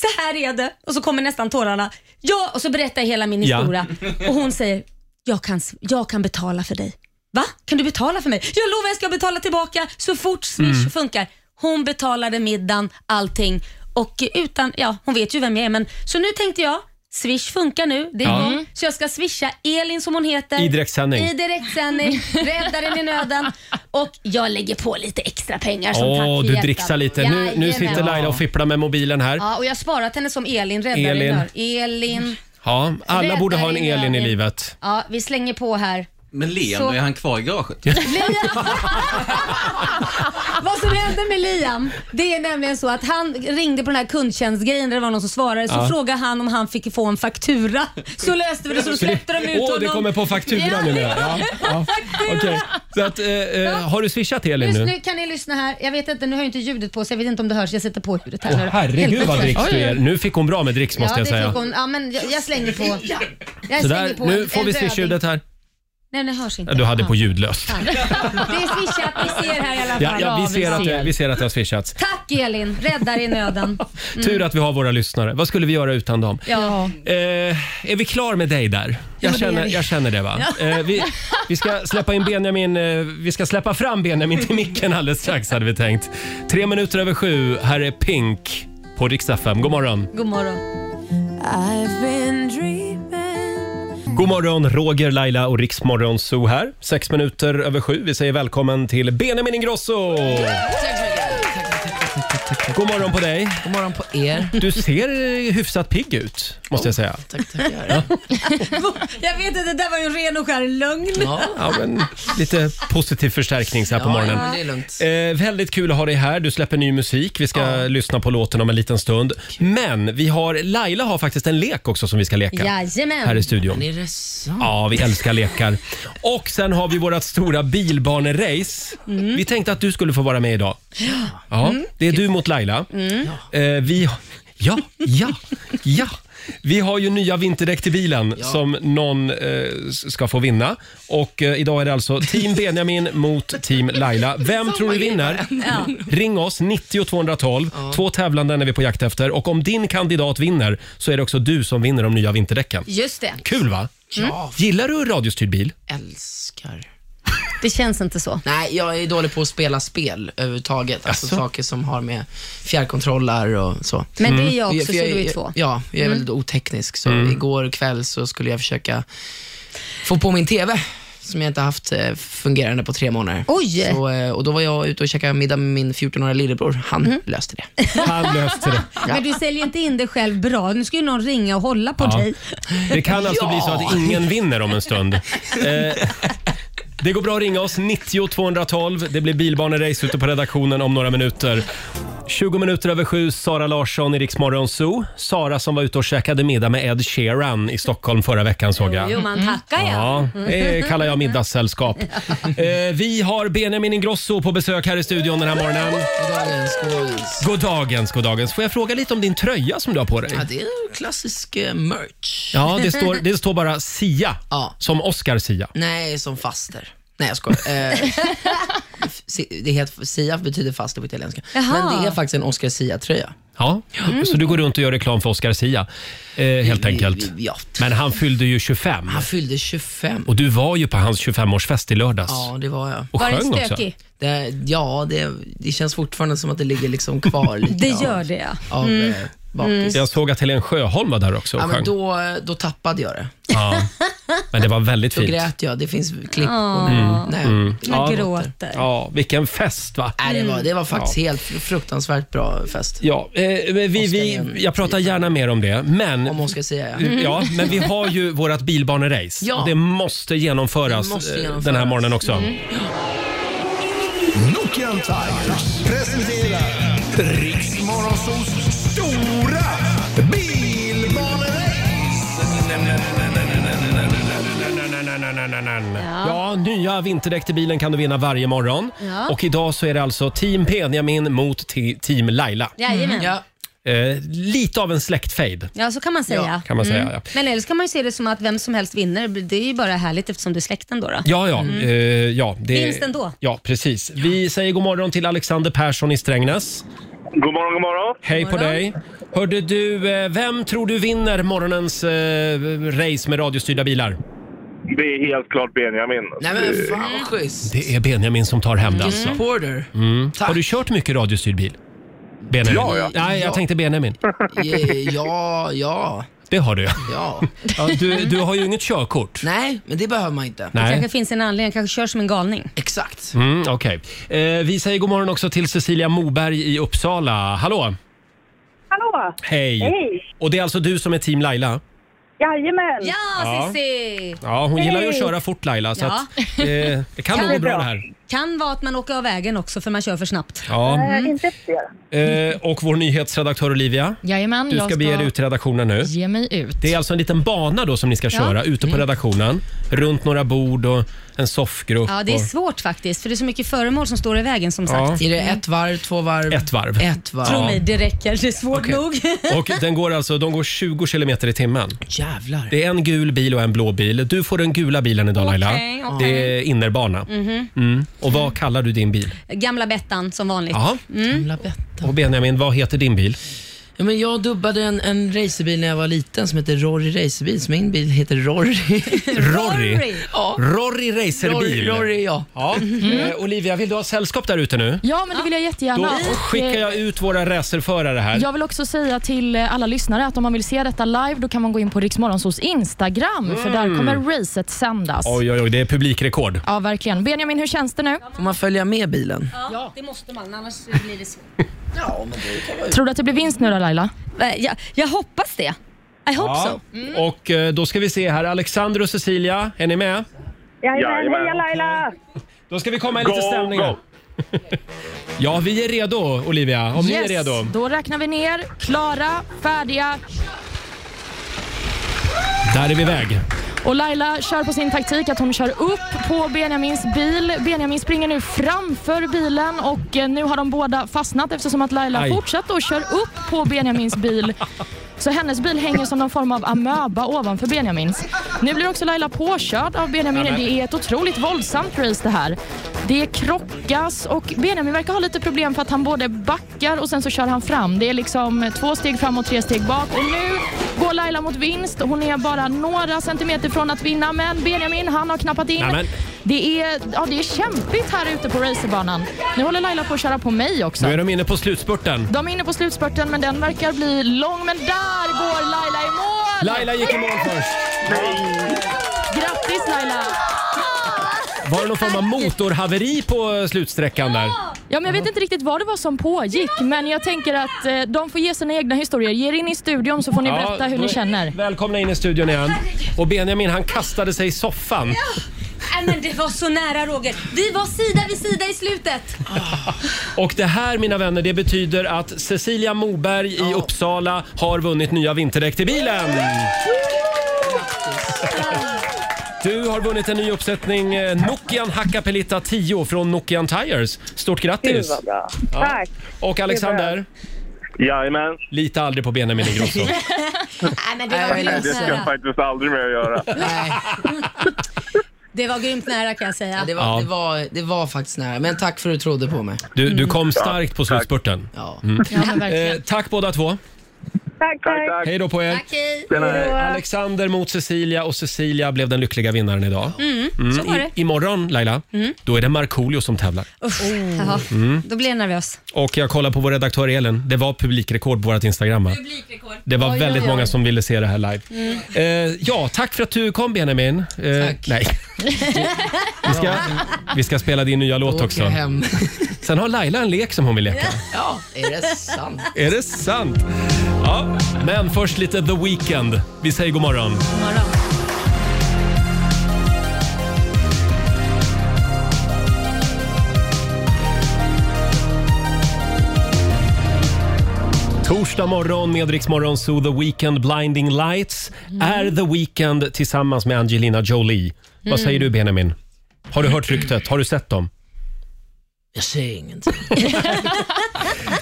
S2: Så här är det. Och så kommer nästan tårarna. Ja, och så berättar jag hela min
S1: Ja.
S2: historia. Och hon säger, jag kan, jag kan betala för dig. Va? Kan du betala för mig? Jag lovar jag ska betala tillbaka så fort Swish
S1: Mm.
S2: funkar. Hon betalade middagen, allting. Och utan, ja hon vet ju vem jag är men så nu tänkte jag, Swish funkar nu, det är
S1: Ja.
S2: igång. Så jag ska swisha Elin som hon heter.
S1: I direktsändning.
S2: I direktsändning, räddaren i nöden. Och jag lägger på lite extra pengar som tack
S1: Åh,
S2: för
S1: du
S2: hjälpen.
S1: dricksar lite. Nu, nu
S2: Jajamän.
S1: sitter Laila och fipplar med mobilen här.
S2: Ja, och jag har sparat henne som Elin, räddaren i
S1: Elin.
S2: nöden. Elin.
S1: Ja, alla
S2: Räddare
S1: borde ha en
S2: i
S1: Elin i
S2: nöden.
S1: livet.
S2: Ja, vi slänger på här.
S8: Men Liam,
S2: Så-
S8: är han kvar i garaget?
S2: Vad som hände med Liam, det är nämligen så att han ringde på den här kundtjänstgrejen där det var någon som svarade. Så frågade han om han fick få en faktura. Så löste vi det, så släppte de ut
S1: Åh, det kommer på fakturan nu. Ja, ja. Okej. Så att, eh, eh, har du swishat Elin
S2: Just
S1: nu?
S2: nu kan ni lyssna här. Jag vet inte, nu har jag inte ljudet på så jag vet inte om det hörs. Jag sätter på ljudet här
S1: Åh,
S2: nu.
S1: herregud
S2: Helt
S1: vad dricks
S2: plötsligt.
S1: du är. Nu fick hon bra med dricks måste
S2: Ja,
S1: jag
S2: det
S1: säga.
S2: fick hon. Ja, men jag, jag slänger på. Jag
S1: Så
S2: slänger
S1: där,
S2: på
S1: nu
S2: en-
S1: får
S2: en
S1: vi
S2: röding.
S1: swishljudet här.
S2: Nej, det hörs inte.
S1: Ja, Du hade
S2: Ja.
S1: på ljudlöst.
S2: Det är swishat, vi ser här i alla fall.
S1: Ja, ja, vi,
S3: Ja, vi
S1: ser att det,
S3: ser.
S1: vi ser att det har swishats.
S2: Tack Elin, räddar i nöden.
S1: Tur att vi har våra lyssnare. Vad skulle vi göra utan dem?
S2: Ja.
S1: Eh, är vi klar med dig där? Jag, känner, jag känner det va? Eh, vi, vi ska släppa in Benjamin, eh, vi ska släppa fram Benjamin till micken alldeles strax hade vi tänkt. Tre minuter över sju, här är Pink på Rix FM. God morgon!
S2: God morgon.
S1: God morgon, Roger, Laila och Rix morgon Zoo här. Sex minuter över sju. Vi säger välkommen till Benjamin Ingrosso! God morgon på dig!
S7: God morgon på er.
S1: Du ser eh, hyfsat pigg ut, måste jag säga.
S7: Tack, tack, jag gör det.
S2: Jag vet inte, det där var ju en ren och skär lögn.
S7: Ja.
S1: Ja, men lite positiv förstärkning så här på
S7: Ja,
S1: morgonen.
S7: men det är lugnt.
S1: Eh, väldigt kul att ha dig här. Du släpper ny musik. Vi ska lyssna på låten om en liten stund. Men vi har, Laila har faktiskt en lek också som vi ska leka här i
S2: Jajamän.
S1: studion.
S7: Men är det sant?
S1: Ja, vi älskar lekar. Och sen har vi vårt stora bilbanerace. Vi tänkte att du skulle få vara med idag. Ja, det är du mot Laila. Eh, vi, ja, ja, ja. Vi har ju nya vinterdäck till bilen som någon eh, s- ska få vinna. Och eh, idag är det alltså Team Benjamin mot Team Laila. Vem tror du vinner? Ring oss, 90 212. Två tävlanden är vi på jakt efter. Och om din kandidat vinner så är det också du som vinner de nya vinterdäcken.
S2: Just det.
S1: Kul va?
S7: Ja,
S1: Gillar du radiostyrd bil?
S7: älskar.
S2: Det känns inte så.
S7: Mm. Nej, jag är dålig på att spela spel överhuvudtaget. Alltså saker som har med fjärrkontroller och så.
S2: Men det är jag
S1: Mm.
S2: också,
S7: för
S2: så
S7: jag,
S2: du är
S7: jag-
S2: två. Mm.
S7: Ja, jag är väldigt oteknisk. Så igår kväll så skulle jag försöka få på min TV som jag inte haft eh, fungerande på tre månader.
S2: Oj.
S7: Så, eh, och då var jag ute och käkade middag med min 14-åriga lillebror. Han
S2: Mm.
S7: löste det.
S1: Han löste det.
S2: Men du säljer inte in dig själv bra. Nu ska ju någon ringa och hålla på
S1: Ja.
S2: dig.
S1: Det kan alltså
S7: Ja!
S1: bli så att ingen vinner om en stund. Eh, det går bra att ringa oss, 90 212. Det blir bilbanerace ute på redaktionen om några minuter. 20 minuter över sju, Sara Larsson i Rix Morgon Zoo. Sara som var ute och käkade middag med Ed Sheeran i Stockholm förra veckan såg jag.
S2: Jo, man tackar ja.
S1: Ja, det kallar jag middagssällskap. Eh, vi har Benjamin Ingrosso på besök här i studion den här morgonen.
S7: Dagens, goddagens.
S1: God dagens, god dagens. Får jag fråga lite om din tröja som du har på dig?
S7: Ja, det är klassisk eh, merch.
S1: Ja, det står, det står bara Sia,
S7: Ja.
S1: som Oscar Sia.
S7: Nej, som faster. Nej, jag skojar. Eh, si- det heter, Sia betyder faster på italienska. Men det är faktiskt en Oscar Sia-tröja.
S1: Ja. Så du går runt och gör reklam för Oscar Sia, eh, helt enkelt.
S7: Ja.
S1: Men han fyllde ju 25
S7: Han fyllde 25.
S1: och du var ju på hans 25-årsfest i lördags.
S7: Ja, det var jag.
S1: Och
S2: Var
S1: sjöng
S2: den
S1: också.
S2: stökig?
S7: Det, ja, det, det känns fortfarande som att det ligger liksom kvar lite
S2: Det gör det Mm. ja.
S7: av, av eh, bakis.
S1: Jag såg att Helen Sjöholm var där också och
S7: Ja, men
S1: sjöng.
S7: då, då tappade jag det.
S1: Ja. Men det var väldigt
S7: Då
S1: fint.
S7: grät jag. Det finns klipp på mm. Nej.
S2: Man
S1: Ja.
S2: gråter.
S1: Ja, vilken fest va?
S7: Nej, det, var, det var faktiskt helt fruktansvärt bra fest.
S1: Ja, eh, vi, vi, jag pratar gärna mer om det, men Mm.
S7: Om man ska säga. ja.
S1: Ja, men vi har ju vårt bilbanerace
S7: Ja.
S1: och det måste genomföras
S7: Det måste
S1: eh,
S7: genomföras. Mm.
S1: den här morgonen också.
S4: Nokian Tigers presenterar Riks Morgonzoos stora bilbanerace.
S1: Ja, nya vinterdäck till bilen kan du vinna varje morgon.
S2: Ja.
S1: Och idag så är det alltså Team Benjamin mot te- Team Laila.
S2: Jajamän.
S7: Ja,
S1: Eh, lite av en släktfejd
S2: Ja, så kan man säga.
S1: kan man säga. Ja.
S2: Men eller så kan man ju se det som att vem som helst vinner. Det är ju bara härligt eftersom du är släkten då. då.
S1: Ja, ja. Eh, ja det,
S2: Vinst Mm. ändå.
S1: Ja, precis. Vi säger god morgon till Alexander Persson i Strängnäs.
S8: God morgon, god morgon.
S1: Hej
S2: God
S1: på
S2: morgon.
S1: dig! Hörde du, eh, vem tror du vinner morgonens eh, race med radiostyrda bilar?
S8: Det är helt klart Benjamin.
S7: nej men fan vad schysst. Mm.
S1: Det är Benjamin som tar hem det alltså.
S7: Supporter. Tack.
S1: Har du kört mycket radiostyrd bil? Benjamin?
S8: Ja, ja.
S1: Nej, jag
S7: Ja.
S1: tänkte Benjamin.
S7: Ja, ja,
S1: Det har du ja.
S7: ja.
S1: ja du, du har ju inget körkort.
S7: Nej, men det behöver man inte.
S1: Nej.
S2: kanske finns en anledning, kanske kör som en galning.
S7: Exakt.
S1: Mm, Okej. Eh, vi säger god morgon också till Cecilia Moberg i Uppsala. Hallå!
S9: Hallå!
S1: Hej!
S9: Hej!
S1: Och det är alltså du som är team Laila?
S9: Jajamän!
S2: Ja,
S1: Ja.
S2: Cissi!
S1: Ja, hon gillar ju att
S9: Hej.
S1: köra fort Laila så
S2: Ja.
S1: att, eh, det kan nog gå bra det här.
S2: Kan vara att man åker av vägen också för man kör för snabbt.
S1: Ja.
S9: Eh, Inte fler.
S1: Eh, och vår nyhetsredaktör Olivia,
S3: Jajamän,
S1: du
S3: jag
S1: ska
S3: ska
S1: bege dig ut till redaktionen nu.
S3: ge mig ut.
S1: Det är alltså en liten bana då som ni ska köra ute
S2: Mm.
S1: på redaktionen. Runt några bord och en soffgrupp.
S2: Ja, det är
S1: och-
S2: svårt faktiskt för det är så mycket föremål som står i vägen som sagt.
S1: Ja.
S7: Är det ett varv, två varv?
S1: Ett varv.
S7: Ett varv.
S2: Tro mig, det räcker. Det är svårt nog.
S1: Och den går alltså, de går 20 kilometer i timmen.
S7: Jävlar.
S1: Det är en gul bil och en blå bil. Du får den gula bilen idag Laila.
S2: Okej, okej. Mhm.
S1: Det är innerbana. Mm. Och vad kallar du din bil?
S2: Gamla Bettan som vanligt.
S1: Ja.
S7: Mm. Gamla Betta.
S1: Och Benjamin, vad heter din bil?
S7: Ja, men jag dubbade en, en racerbil när jag var liten som heter Rory Racerbil, så min bil heter Rory.
S1: Rory.
S7: ja.
S1: Rory racerbil.
S7: Rory, Rory, ja.
S1: Ja.
S2: Mhm.
S1: Eh, Olivia, vill du ha sällskap där ute nu?
S3: Ja, men det vill jag jättegärna.
S1: Då
S3: Och, eh,
S1: skickar jag ut våra racerförare här.
S3: Jag vill också säga till eh, alla lyssnare att om man vill se detta live då kan man gå in på Riksmorgonsos Instagram för där kommer racet sändas.
S1: Mm. Oj, oj, oj, det är publikrekord.
S3: Ja, verkligen. Benjamin, hur känns det nu?
S7: Får man följa med bilen?
S2: Ja, det måste man annars blir det svårt.
S3: Tror du att det blir vinst nu då Laila?
S2: Jag, jag hoppas det. I hope so.
S3: Mm.
S1: Och eh, då ska vi se här, Alexander och Cecilia, är ni med?
S9: Jajamän!
S8: Jajamän.
S9: Heja Laila!
S1: Då ska vi komma i
S8: Go,
S1: lite stämning. här.
S8: go!
S1: Ja, vi är redo Olivia, om ni är redo.
S3: Då räknar vi ner. Klara, färdiga.
S1: Där är vi iväg.
S3: Och Laila kör på sin taktik att hon kör upp på Benjamins bil. Benjamin springer nu framför bilen och eh, nu har de båda fastnat eftersom att Laila
S1: Aj.
S3: fortsätter och kör upp på Benjamins bil. Så hennes bil hänger som någon form av amöba ovanför Benjamins. Nu blir också Laila påkörd av Benjamin. Det är ett otroligt våldsamt race det här. Det krockas och Benjamin verkar ha lite problem för att han både backar och sen så kör han fram. Det är liksom två steg fram och tre steg bak. Och nu går Laila mot vinst. Hon är bara några centimeter från att vinna men Benjamin han har knappat in.
S1: Nämen.
S3: Det, är, ja, det är kämpigt här ute på racerbanan. Nu håller Laila på att köra på mig också.
S1: Nu är de inne på slutspurten.
S3: De är inne på slutspurten men den verkar bli lång. Men där går Laila i mål!
S1: Laila gick i mål först.
S3: Grattis Laila!
S1: Var det någon form av motorhaveri på eh, slutsträckan där?
S3: Ja, men jag vet inte riktigt vad det var som pågick men jag tänker att eh, de får ge sina egna historier. Ge er in i studion så får ni berätta hur
S1: då-
S3: ni känner.
S1: Välkomna in i studion igen. Och Benjamin han kastade sig i soffan.
S2: Nej men det var så nära Roger. Vi var sida vid sida i slutet.
S1: Och det här mina vänner, det betyder att Cecilia Moberg i Uppsala har vunnit nya vinterdäck till bilen. Du har vunnit en ny uppsättning eh, Nokian Hakkapeliitta 10 från Nokian Tires. Stort
S9: Gud
S1: grattis!
S9: vad bra.
S1: Ja.
S9: Tack.
S1: Och Alexander,
S8: Jajamän.
S1: lita aldrig på Benjamin Ingrosso.
S2: Nej men det
S7: Nej,
S2: var
S7: det
S8: Nej,
S2: grymt
S8: det ska jag
S2: nära.
S8: faktiskt aldrig mer göra.
S7: Nej,
S2: Det var grymt nära kan jag säga.
S7: det var,
S1: Ja.
S7: det, var, det var faktiskt nära. Men tack för att du trodde på mig.
S1: Du, du kom starkt på
S8: tack.
S1: slutspurten.
S7: Ja.
S3: Ja, men verkligen.
S1: Eh, tack båda två.
S9: Tack,
S8: Tack,
S9: tack.
S8: tack.
S1: Hej då på er. Eh,
S2: Tack, hej.
S8: Tjena, hej.
S1: Alexander mot Cecilia och Cecilia blev den lyckliga vinnaren idag. Mm,
S2: så var det.
S1: I, imorgon Laila, då är det Markoolio som tävlar.
S2: Usch, jaha. Då blir jag nervös.
S1: Och jag kollar på vår redaktör Elin. Det var publikrekord på vårt Instagram va? Det var
S3: Oj,
S1: väldigt
S3: oj, oj.
S1: många som ville se det här live. Eh, ja, tack för att du kom Benjamin. Eh,
S7: Mm. Tack.
S1: Nej. Vi ska, vi ska spela din nya låt
S7: Åker
S1: också.
S7: hem.
S1: Sen har Laila en lek som hon vill leka.
S7: Ja, är det sant?
S1: Är det sant? Ja. Men först lite The Weeknd. Vi säger god morgon. Torsdag morgon med Rix Morgon Zoo, The Weeknd Blinding Lights. Är The Weeknd tillsammans med Angelina Jolie? Vad säger du Benjamin? Har du hört ryktet? Har du sett dem?
S7: Jag säger ingenting.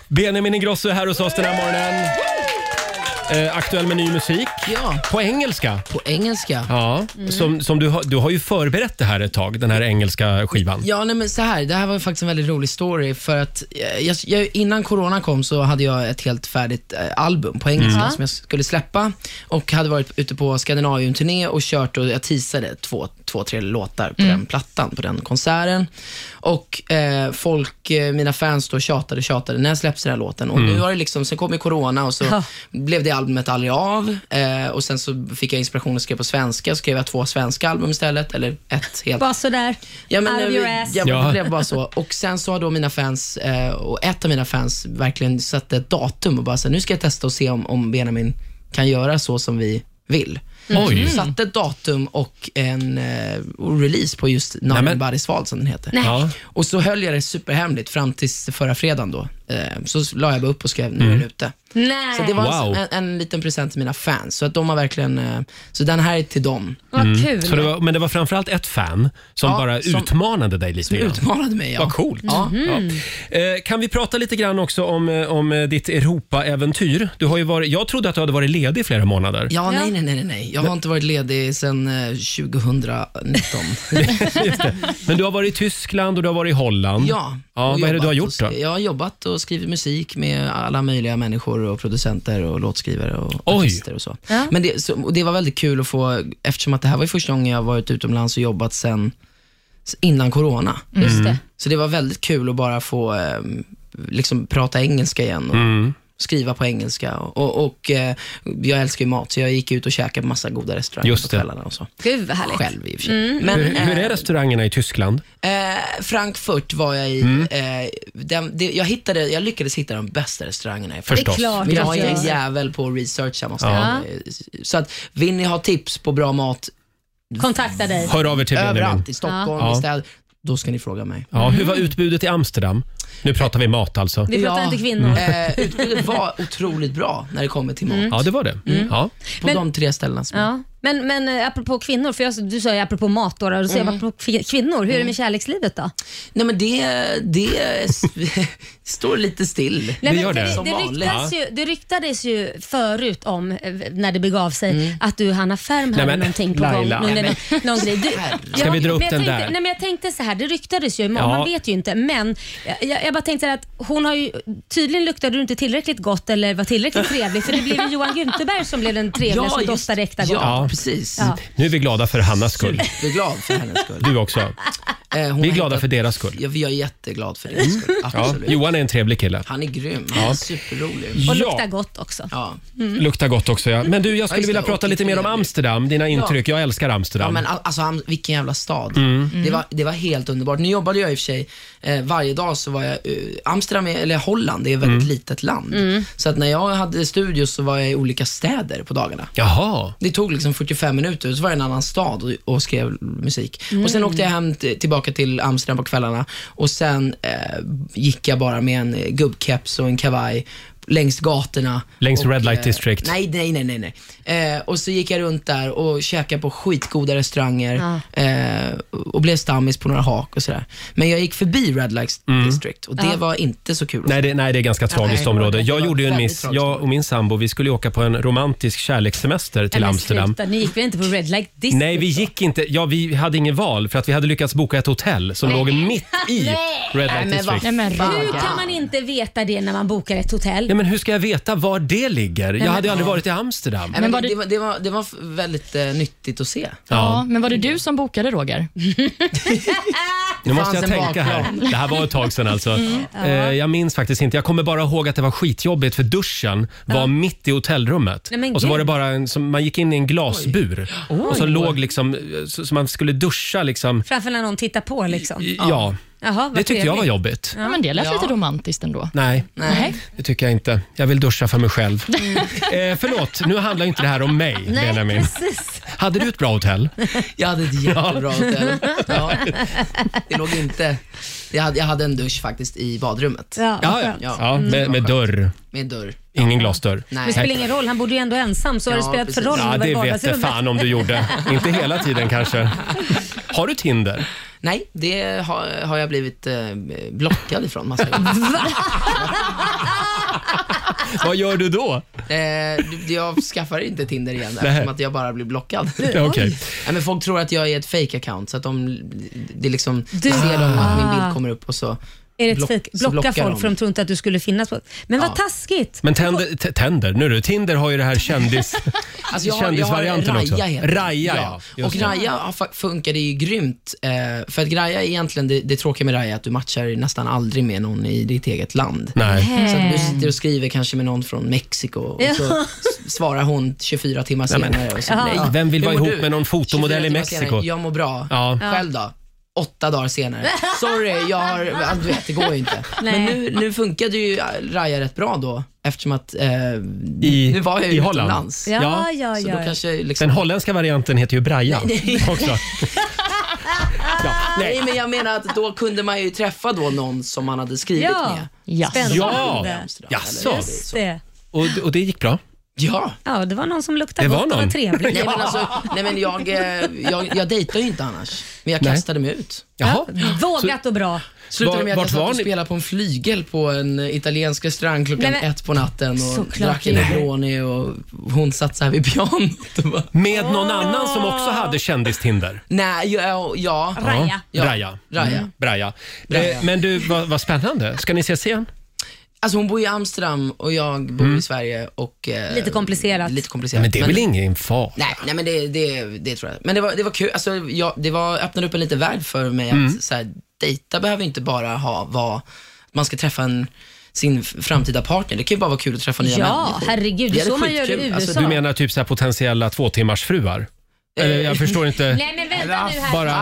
S1: Benjamin Ingrosso är här hos oss den här morgonen. Eh, aktuell med ny musik.
S7: Ja,
S1: På engelska.
S7: på engelska.
S1: Ja, som, som du, har, du har ju förberett det här ett tag, den här engelska skivan.
S7: Ja, nej, men så här. Det här var ju faktiskt en väldigt rolig story för att eh, jag, jag, innan corona kom så hade jag ett helt färdigt eh, album på engelska som jag skulle släppa och hade varit ute på Skandinavien-turné och kört och jag teasade två, två tre låtar på den plattan, på den konserten. Och eh, folk, eh, mina fans då tjatade och tjatade, när släpps den här låten? Och nu har det liksom, sen kom ju corona och så blev det albumet aldrig av eh, och sen så fick jag inspiration och skrev på svenska, så skrev jag två svenska album istället, eller ett helt.
S2: Bara sådär.
S7: Ja, men,
S2: Out of your
S7: eh,
S2: ass.
S7: ja, men
S1: Ja.
S7: det blev bara så. Och sen så har då mina fans, eh, och ett av mina fans verkligen satt ett datum och bara så här, nu ska jag testa och se om, om Benjamin kan göra så som vi vill.
S1: Oj.
S7: Satte ett datum och en eh, och release på just
S1: Nej, men-
S7: Namen Barisval som den heter.
S1: Ja.
S7: Och så höll jag det superhemligt fram tills förra fredagen då. Eh, så la jag bara upp och skrev, nu är den ute.
S2: Nej,
S7: Så det var
S1: Mm. Wow.
S7: en, en liten present till mina fans. Så att de har verkligen, eh, så den här är till dem.
S2: vad kul.
S1: Så det var, men det var framförallt ett fan som
S7: Ja,
S1: bara
S7: som-
S1: utmanade dig lite grann.
S7: Utmanade mig ja.
S1: Vad coolt.
S7: Ja. Mm.
S1: Ja. Eh, Kan vi prata lite grann också om, eh, om eh, ditt Europa-äventyr? Du har ju varit, jag trodde att du hade varit ledig i flera månader.
S7: Ja, nej, nej, nej, nej. Jag har inte varit ledig sedan eh, 2019.
S1: Just det. Men du har varit i Tyskland och du har varit i Holland.
S7: ja. och
S1: ja vad är det
S7: jobbat
S1: du har
S7: och
S1: gjort då?
S7: skri- Jag har jobbat och skrivit musik med alla möjliga människor och producenter och låtskrivare och
S1: Oj.
S7: artister och så. Men det, så, och det var väldigt kul att få, eftersom att det här var ju första gången jag varit utomlands och jobbat sen s- innan corona.
S1: Mm.
S3: Mm.
S2: Just det.
S7: Så det var väldigt kul att bara få eh, liksom prata engelska igen. Och,
S1: Mm.
S7: skriva på engelska och, och, och eh, jag älskar ju mat så jag gick ut och käkade på massa goda restauranger
S1: Just
S7: på
S1: det.
S7: kvällarna och så.
S2: Gud vad härligt.
S7: Själv i och för sig. Mm, Men,
S1: Hur, hur är restaurangerna i Tyskland?
S7: Eh, Frankfurt var jag i. Eh, den, det, jag, hittade, jag lyckades hitta de bästa restaurangerna. i
S2: Det är
S1: Förstås.
S2: klart
S7: Men jag
S2: att
S7: är
S2: jag-
S7: en jävel på att researcha. Måste jag. Så att, vill ni ha tips på bra mat
S2: Kontakta dig.
S1: Hör av er till Benjamin.
S7: överallt, i Stockholm,
S1: Ja.
S7: i städer, då ska ni fråga mig.
S1: Ja, hur
S7: Mm.
S1: var utbudet i Amsterdam? Nu pratar vi mat alltså.
S2: Vi pratar
S7: Ja.
S2: inte kvinnor. Mm.
S7: Eh, utbudet var otroligt bra när det kommer till mat.
S1: Ja, det var det.
S7: Mm.
S1: Ja.
S7: På de tre ställena. Som
S2: Ja. Men, men eh, apropå kvinnor, för jag, du sa ju apropå mat då, då säger
S7: Mm.
S2: jag apropå kvi- kvinnor, hur är det med kärlekslivet då?
S7: Nej, men det, det står lite still.
S2: Nej, men
S1: gör det.
S2: Det,
S7: Som
S2: det,
S7: vanligt.
S2: ryktas ju, det ryktades ju förut om, eh, när det begav sig, att du Hanna Ferm hade
S1: Mm. men,
S2: någonting på
S1: Laila.
S2: gång.
S1: Nej,
S2: Någon, någon grej. Du,
S1: Ska vi dra upp
S2: men jag
S1: den
S2: tänkte,
S1: där?
S2: Nej, men jag tänkte så här, det ryktades ju, men
S1: Ja.
S2: man vet ju inte. Men jag- jag, jag bara tänkte så här att hon har ju, tydligen luktade du inte tillräckligt gott eller var tillräckligt trevlig för det blev ju Johan Gunterberg som blev den trevliga som
S7: just-
S2: doftade äkta gott.
S7: ja, precis.
S2: Ja.
S1: Nu är vi glada för Hannas skull.
S7: Superglad för hennes skull.
S1: Du också.
S7: Eh, hon
S1: Vi är
S7: har
S1: glada
S7: hittat-
S1: för deras skull. Mm.
S7: Ja, vi är jätteglad för deras skull.
S1: Ja,
S7: Absolut.
S1: Johan är en trevlig kille.
S7: Han är grym. Han är superrolig.
S2: Och
S1: Ja.
S2: luktar gott också.
S7: Ja.
S1: Luktar gott också ja. Men du, jag
S7: Mm. Ja,
S1: skulle
S7: just
S1: vilja
S7: det,
S1: prata
S7: och
S1: lite mer om
S7: trevlig.
S1: Amsterdam, dina intryck. Jag älskar
S7: Ja,
S1: Amsterdam.
S7: men al- alltså, han- vilken jävla stad.
S1: Mm.
S7: Det, var, det var helt underbart. Nu jobbade jag i och för sig, eh, varje dag så var jag, eh, Amsterdam, är- eller Holland, det är ett väldigt
S1: Mm.
S7: litet land. Så att när jag hade studio så var jag i olika städer på dagarna.
S1: Jaha.
S7: Det tog liksom 45 minuter, så var det en annan stad och, och skrev musik. Och
S1: Mm.
S7: Sen åkte jag hem t- tillbaka till Amsterdam på kvällarna och sen eh, gick jag bara med en eh, gubbkeps och en kavaj längs gatorna.
S1: Längs
S7: och,
S1: Red Light
S7: eh,
S1: District.
S7: Nej, nej, nej. nej, nej. Eh, och så gick jag runt där och käkade på skitgoda restauranger eh, och blev stammis på några hak och sådär. Men jag gick förbi Red Light District och det var inte så kul.
S1: Mm. Nej det, nej, det är ganska tragiskt
S7: nej.
S1: område.
S7: Det var
S1: Jag gjorde ju en
S7: väldigt
S1: miss.
S7: tragiskt.
S1: Jag och min sambo, vi skulle ju åka på en romantisk kärlekssemester till
S2: Nej, men
S1: Amsterdam.
S2: sluta, Ni gick väl inte på Red Light District?
S1: Nej, vi gick inte. Ja, vi hade ingen val för att vi hade lyckats boka ett hotell som låg mitt i Red
S7: Nej,
S1: Light
S7: men vad
S1: District.
S3: Nej, men
S2: Hur kan man inte veta det när man bokar ett hotell?
S1: Ja, men hur ska jag veta var det ligger? Jag hade ju aldrig varit i Amsterdam.
S7: Nej, men
S3: var
S7: det,
S3: det-
S7: det, var, det, var, det var f- väldigt eh, nyttigt att se.
S3: Ja, men var det du som bokade Roger?
S1: Nu måste jag
S7: fanns en
S1: tänka här. Det här var ett tag sedan alltså.
S2: Mm.
S1: Eh, jag minns faktiskt inte. Jag kommer bara ihåg att det var skitjobbigt för duschen var mitt i hotellrummet.
S2: Nej, men
S1: och så var det
S2: gud.
S1: bara en, som, man gick in i en glasbur och så låg liksom, så, så man skulle duscha liksom.
S2: Framför när någon tittar på liksom.
S1: I- Ja,
S2: Jaha, vad
S1: det tyckte jag var
S2: trevligt.
S1: jobbigt.
S3: Ja, men det lät lite romantiskt ändå.
S1: Nej,
S3: Nej.
S1: det tycker jag inte. Jag vill duscha för mig själv. eh, förlåt, nu handlar ju inte det här om mig,
S2: Mm. Nej,
S1: Benjamin.
S2: precis.
S1: Hade du ett bra hotell?
S7: Jag hade ett jättebra hotell. Ja. Det låg inte... Jag hade, jag hade en dusch faktiskt i badrummet
S2: Ja,
S1: Ja, ja.
S2: skönt. Mm.
S1: ja. med, med dörr.
S7: med dörr.
S1: Ingen glasdörr.
S2: Men Det
S7: Nej.
S2: spelar ingen roll, han bodde ju ändå ensam. Så har det
S7: Ja,
S2: spelat för
S7: precis.
S2: roll om
S1: Ja,
S2: var Alltså,
S1: det vet jag
S2: vardagsrummet?
S1: fan om du gjorde. Inte hela tiden kanske. Har du Tinder?
S7: Nej, det har, har jag blivit eh, blockad ifrån massa gånger.
S1: Vad gör du då?
S7: Eh, du- jag skaffar inte Tinder igen
S1: Nej.
S7: eftersom att jag bara blir blockad.
S1: Ja, Okej.
S7: Nej, men folk tror att jag är ett fake account så att de, det är liksom, du... ser de att min
S1: Ah.
S7: bild kommer upp och så
S2: Är det ett
S7: block-
S2: fik?
S7: så
S2: Blocka folk
S7: de.
S2: för de tror inte att du skulle finnas på... Men vad taskigt!
S1: Men Tender, t- Tender, nu du, Tinder har ju det här kändis,
S7: Alltså jag har-
S1: kändisvarianten
S7: jag har
S1: också.
S7: Raja heter den.
S1: Raja, ja.
S7: Och
S1: Just det.
S7: Raja har fa- funkade ju grymt. Eh, för att Raja är egentligen, det, det tråkiga med Raja är att du matchar nästan aldrig med någon i ditt eget land.
S1: Nej.
S7: Så
S2: Mm.
S7: att du
S2: Eh,
S7: sitter och skriver kanske med någon från Mexiko och så s- svarar hon 24 timmar senare. och så, nej,
S1: Vem vill
S7: hur
S1: vara
S7: mår
S1: ihop
S7: du?
S1: med någon fotomodell i
S7: 24 timmar
S1: Mexiko?
S7: Senare, jag mår bra.
S1: Ja.
S7: Själv då? Åtta dagar senare. Sorry, jag har, ja, du vet, det går ju inte. Men nu, nu funkade ju Raja rätt bra då eftersom att eh,
S1: I,
S7: nu var jag ju
S1: i Holland.
S7: utomlands.
S2: Ja,
S1: Ja,
S2: ja, ja.
S7: Så då kanske liksom
S1: Den holländska varianten heter ju Braja också. Ja, nej.
S7: Nej, men jag menar att då kunde man ju träffa då någon som man hade skrivit
S2: Ja.
S7: med.
S3: Yes.
S2: Spännande.
S1: Ja.
S7: Amsterdam,
S1: Jaså.
S7: eller-
S2: Just det.
S1: Och, och det gick bra?
S7: Ja.
S2: Ja, det var någon som luktade
S1: Det var
S2: gott och
S1: någon.
S2: var trevlig.
S7: Nej, men alltså, nej, men jag, eh, jag, jag dejtar ju inte annars, men jag
S1: Nej.
S7: kastade mig ut.
S1: Jaha.
S2: Vågat och bra.
S7: Slutade
S1: Var-
S7: med att
S1: vart
S7: jag satt
S1: var
S7: och
S1: ni?
S7: spelade på en flygel på en eh, italiensk restaurang klockan
S2: Nej, men-
S7: ett på natten och
S2: Såklart
S7: drack en
S2: inte.
S7: Negroni och hon satt så här vid pianot. och bara,
S1: Med någon annan som också hade kändis-Tinder?
S7: Nej, ja, ja.
S2: Raja.
S7: Ja.
S1: Raja.
S7: Raja.
S1: Braja.
S7: Braja.
S1: Eh, men du, vad, vad spännande. Ska ni ses igen?
S7: Alltså hon bor i Amsterdam och jag bor i Sverige och... eh,
S2: Lite komplicerat.
S7: Lite komplicerat.
S1: Mm. Men det är väl ingen fara?
S7: Nej, nej men det, det, det tror jag. Men det var, det var kul. Alltså, jag, det var, öppnade upp en liten värld för mig.
S2: Mm.
S7: Att, så här, dejta behöver inte bara ha, vara, att man ska träffa en, sin f- framtida partner. Det kan ju bara vara kul att träffa nya
S2: Ja,
S7: människor.
S2: herregud. Det är
S7: är
S2: så man gör i
S7: skitkul.
S2: USA.
S7: Alltså,
S1: Du menar typ så här potentiella tvåtimmarsfruar? Eller, jag förstår inte.
S2: Nej men vänta nu här.
S1: Bara-